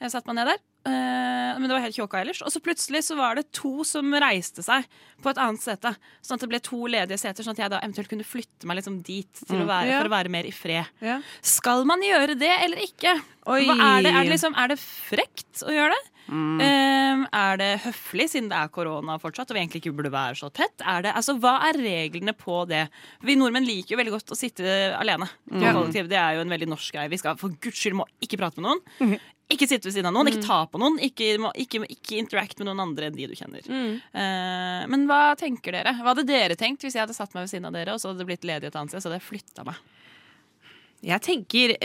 Jeg satte meg ned der. eh, men det var helt kjåka ellers. Og så plutselig så var det to som reiste seg på et annet sete. Sånn at det ble to ledige seter, sånn at jeg da eventuelt kunne flytte meg liksom dit til å være,
Mm. Ja.
for å være mer i fred.
Ja.
Skal man gjøre det eller ikke?
Oi.
Hva er, det? Er, det liksom, er det frekt å gjøre det? Um, er det høflig, siden det er korona fortsatt og vi egentlig ikke burde være så tett? Er det, altså, hva er reglene på det? Vi nordmenn liker jo veldig godt å sitte alene. på kollektiv. Det er jo en veldig norsk greie. Vi skal for guds skyld må ikke prate med
Mhm.
noen. Ikke sitte ved siden av noen, ikke ta på noen, ikke, må, ikke, ikke interact med noen andre enn de du kjenner.
Mhm.
Eh, men hva tenker dere? Hva hadde dere tenkt hvis jeg hadde satt meg ved siden av dere, og så hadde det blitt ledig et annet sted, så hadde jeg flytta meg?
Jeg tenker,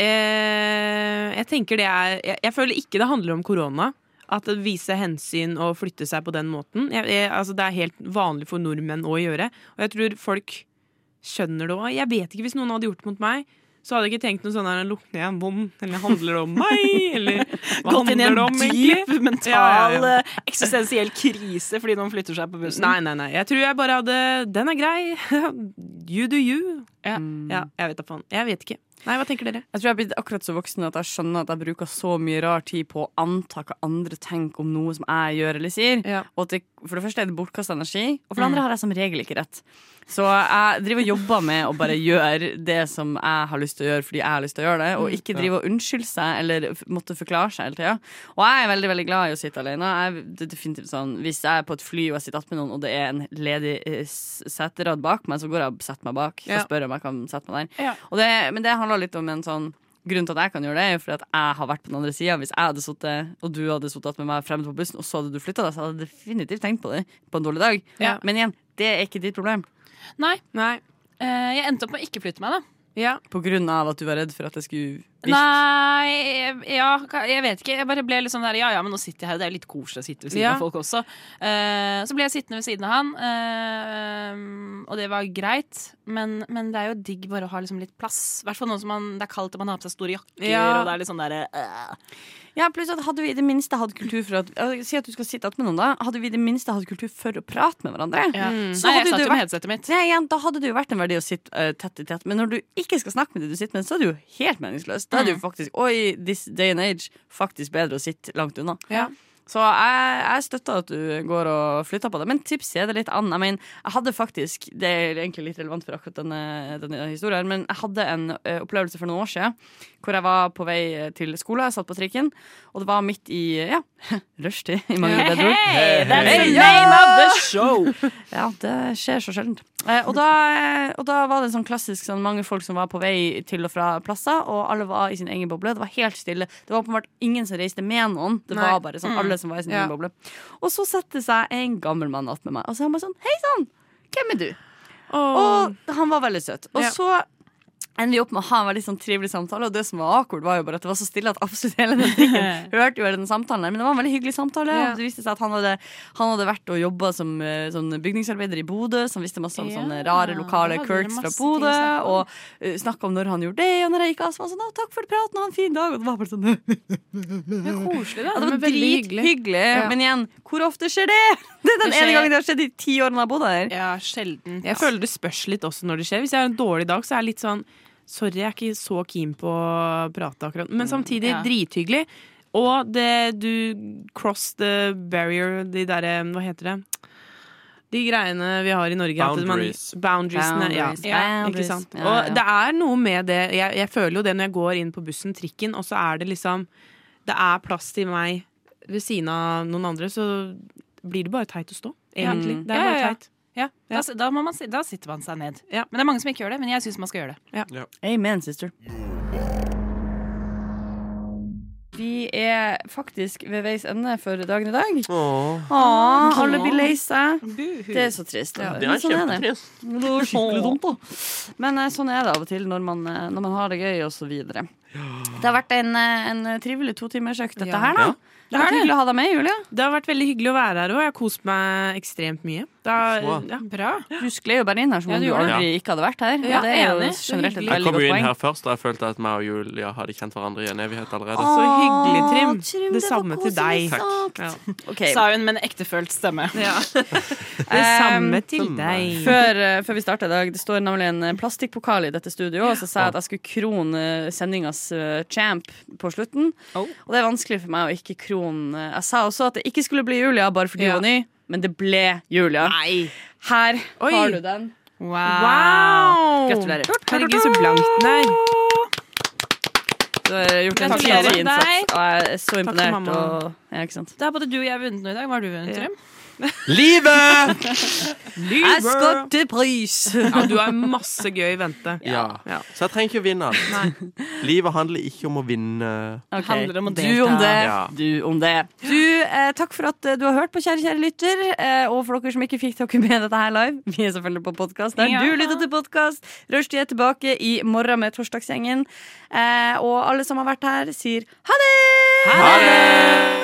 eh, jeg tenker det er jeg, jeg føler ikke det handler om korona. At det viser hensyn og flytter seg på den måten. Jeg, jeg, altså det er helt vanlig for nordmenn å gjøre. Og jeg tror folk skjønner det òg. Jeg vet ikke hvis noen hadde gjort det mot meg. Så hadde jeg ikke tenkt noe sånn her Lukter jeg en bom? Eller handler det om meg? Eller hva
Gått inn i
handler
en
det om, egentlig?
dyp mental,
Ja, ja, ja.
eh, eksistensiell krise fordi noen flytter seg på bussen.
Nei, nei, nei. Jeg tror jeg bare hadde Den er grei. You do you.
Ja.
ja jeg vet da faen. Jeg vet ikke. Nei, hva tenker dere?
Jeg tror jeg er blitt akkurat så voksen at jeg skjønner at jeg bruker så mye rar tid på å anta hva andre tenker om noe som jeg gjør eller sier.
Ja. Mm.
Og at det, for det første er det bortkasta energi, og for det andre har jeg som regel ikke rett. Så jeg driver og jobber med å bare gjøre det som jeg har lyst til å gjøre fordi jeg har lyst til å gjøre det,
Mm.
og ikke drive og unnskylde seg eller f- måtte forklare seg hele tida. Og jeg er veldig veldig glad i å sitte alene. Jeg, det er definitivt sånn, Hvis jeg er på et fly og jeg sitter attmed noen, og det er en ledig eh, s- seterad bak meg, så går jeg og setter meg bak. Så
Ja.
spør jeg om jeg kan sette meg der.
Ja.
Og det, men det handler litt om en sånn Grunnen til at jeg kan gjøre det, er jo fordi at jeg har vært på den andre sida. Hvis jeg hadde sittet, og du hadde sittet med meg fremmed på bussen, og så hadde du flytta deg, så hadde jeg definitivt tenkt på det på en dårlig dag.
Ja.
Men igjen, det er ikke ditt problem.
Nei. Eh, jeg endte opp med å ikke flytte meg, da.
På grunn av at du var redd for at jeg skulle virke.
Nei, jeg- ja, ka- jeg vet ikke. Jeg bare ble litt sånn der, ja ja, men nå sitter jeg her, og det er jo litt koselig å sitte ved siden
Ja.
av folk også. Eh, så ble jeg sittende ved siden av han, eh, og det var greit. Men, men det er jo digg bare å ha liksom litt plass. I hvert fall nå som man, det er kaldt og man har på seg store jakker.
Ja.
Og det er litt sånn der, eh.
Ja, pluss at hadde vi i det minste hatt kultur for at ja, Si at du skal sitte attmed noen, da. Hadde vi i det minste hatt kultur for å prate med hverandre,
Ja. Mm. Nei, jeg satt jo med headsetet mitt.
Nei, igjen, da hadde det jo vært en verdi å sitte eh, tett i tett. Men når du ikke skal snakke med de du sitter med, så er det jo helt meningsløst. Da er det jo faktisk, oi, this day and age, faktisk bedre å sitte langt unna.
Ja.
Så jeg, jeg støtter at du går og flytter på det. Men tips er det litt annet. Jeg, mener, jeg hadde faktisk, Det er egentlig litt relevant for akkurat denne, denne historien, her, men jeg hadde en eh, opplevelse for noen år siden hvor jeg var på vei eh, til skolen. Jeg satt på trikken, og det var midt i ja, rushtid. I mange
Hey,
bedre ord.
hey, that's the
Hey,
name of the
ja! ja, det skjer så sjeldent. Eh, og, da, eh, og da var det en sånn klassisk sånn, mange folk som var på vei til og fra plasser, og alle var i sin egen boble. Det var helt stille. Det var åpenbart ingen som reiste med noen. Det
Nei.
var bare sånn,
Mm.
alle som var i sin
Ja.
egen boble. Og så setter seg en gammel mann attmed meg, og så er han bare sånn Hei sann, hvem er du? Og han var veldig søt. Og
Ja.
så ender vi opp med å ha en veldig sånn trivelig samtale, og det som var awkward, var jo bare at det var så stille at absolutt hele den trikken hørte jo hele den samtalen. her. Men det var en veldig hyggelig samtale,
Ja.
og det viste seg at han hadde, han hadde vært og jobba som eh, sånn bygningsarbeider i Bodø, så han visste masse om sånne rare lokale
det var
quirks fra
masse ting å
Bodø,
snakke om.
og uh, snakka om når han gjorde det, og når jeg gikk av, så var han sånn «Å, 'takk for praten, ha en fin dag', og det var bare sånn
Det er koselig,
ja,
da.
det var
Men veldig
drithyggelig.
hyggelig. Ja.
Men igjen, hvor ofte skjer det? Det er den
Det skjer-
ene gangen det har skjedd i ti årene jeg har bodd her.
Ja, sjelden.
Jeg føler det spørs litt også når det skjer. Hvis jeg har en dårlig dag, så er jeg litt sånn Sorry, jeg er ikke så keen på å prate akkurat. Men samtidig
ja.
drithyggelig. Og det du Cross the barrier, de derre Hva heter det? De greiene vi har i Norge. at man-
Boundaries.
boundariesene. Ja.
Boundaries,
ja. Ikke
boundaries.
sant?
Ja, ja.
Og det er noe med det. Jeg, jeg føler jo det når jeg går inn på bussen, trikken, og så er det liksom Det er plass til meg ved siden av noen andre, så blir det bare teit å stå. Egentlig. Det er
Ja, ja,
bare
ja.
teit. Ja, ja.
Da, s- da, må man, si- da sitter man seg ned.
Ja.
Men det er mange som ikke gjør det, men jeg syns man skal gjøre det.
Amen, sister. Vi er faktisk ved veis ende for dagen i dag.
Åh,
Åh, alle blir lei seg. Det er så trist.
det
Men
er
sånn det.
kjempetrist.
Det er skikkelig dumt, da. Men eh, sånn er det av og til når man, eh, når man har det gøy, og så videre. Det har vært en, eh, en trivelig totimersøkt, dette
Ja.
her, da.
Ja.
Det har vært hyggelig å ha deg med, Julie.
Det har vært veldig hyggelig å være her òg. Jeg har kost meg ekstremt mye. Det
Så.
har, ja. Bra.
Du skled jo bare inn her som
Ja,
om
du
du
gjorde
det.
aldri ikke hadde vært her.
Ja,
det er jo
enig. Så
generelt et
hyggelig.
Jeg
veldig
kom jo
godt
inn
poeng.
her først, og jeg følte at meg og Julia hadde kjent hverandre i en evighet allerede.
Så hyggelig, Trym.
Åh, Trym,
det,
det var
samme til
koselig
deg. Ja.
Ok.
Sa hun med en ektefølt stemme.
Det samme til
Ehm, Samme.
deg.
Ehm, Før, eh, før vi starter i dag, det står nemlig en eh, plastikkpokal i dette studioet, og så sa jeg at jeg skulle krone sendingas eh, champ på slutten.
Oh.
Og det er vanskelig for meg å ikke krone eh, Jeg sa også at det ikke skulle bli Julia bare fordi
Ja.
hun var ny, men det ble Julia.
Nei.
Her
Oi.
har du den.
Wow.
Wow!
Gratulerer.
Herregud, så blank den er.
Du har gjort en
Gratulerer
fantastisk
til
innsats,
deg.
og jeg er så imponert.
mamma.
Og, ja, ikke sant?
Da har både du og jeg vunnet noe i dag. Hva har du vunnet, Trym?
Livet!
Jeg skapte pris!
Ja, du har masse gøy i vente.
Ja.
Ja.
Så jeg trenger ikke å vinne alt. Livet handler ikke om å vinne.
Ok.
handler om å
Du
delta.
om det,
Ja.
du om det. Du, eh, takk for at eh, du har hørt på, kjære kjære lytter. Eh, og for dere som ikke fikk dere med dette her live, vi er selvfølgelig på podkast der
Ja.
du lytter til podkast. Rushtid er tilbake i morgen med Torsdagsgjengen. Eh, og alle som har vært her, sier ha det!
Ha det!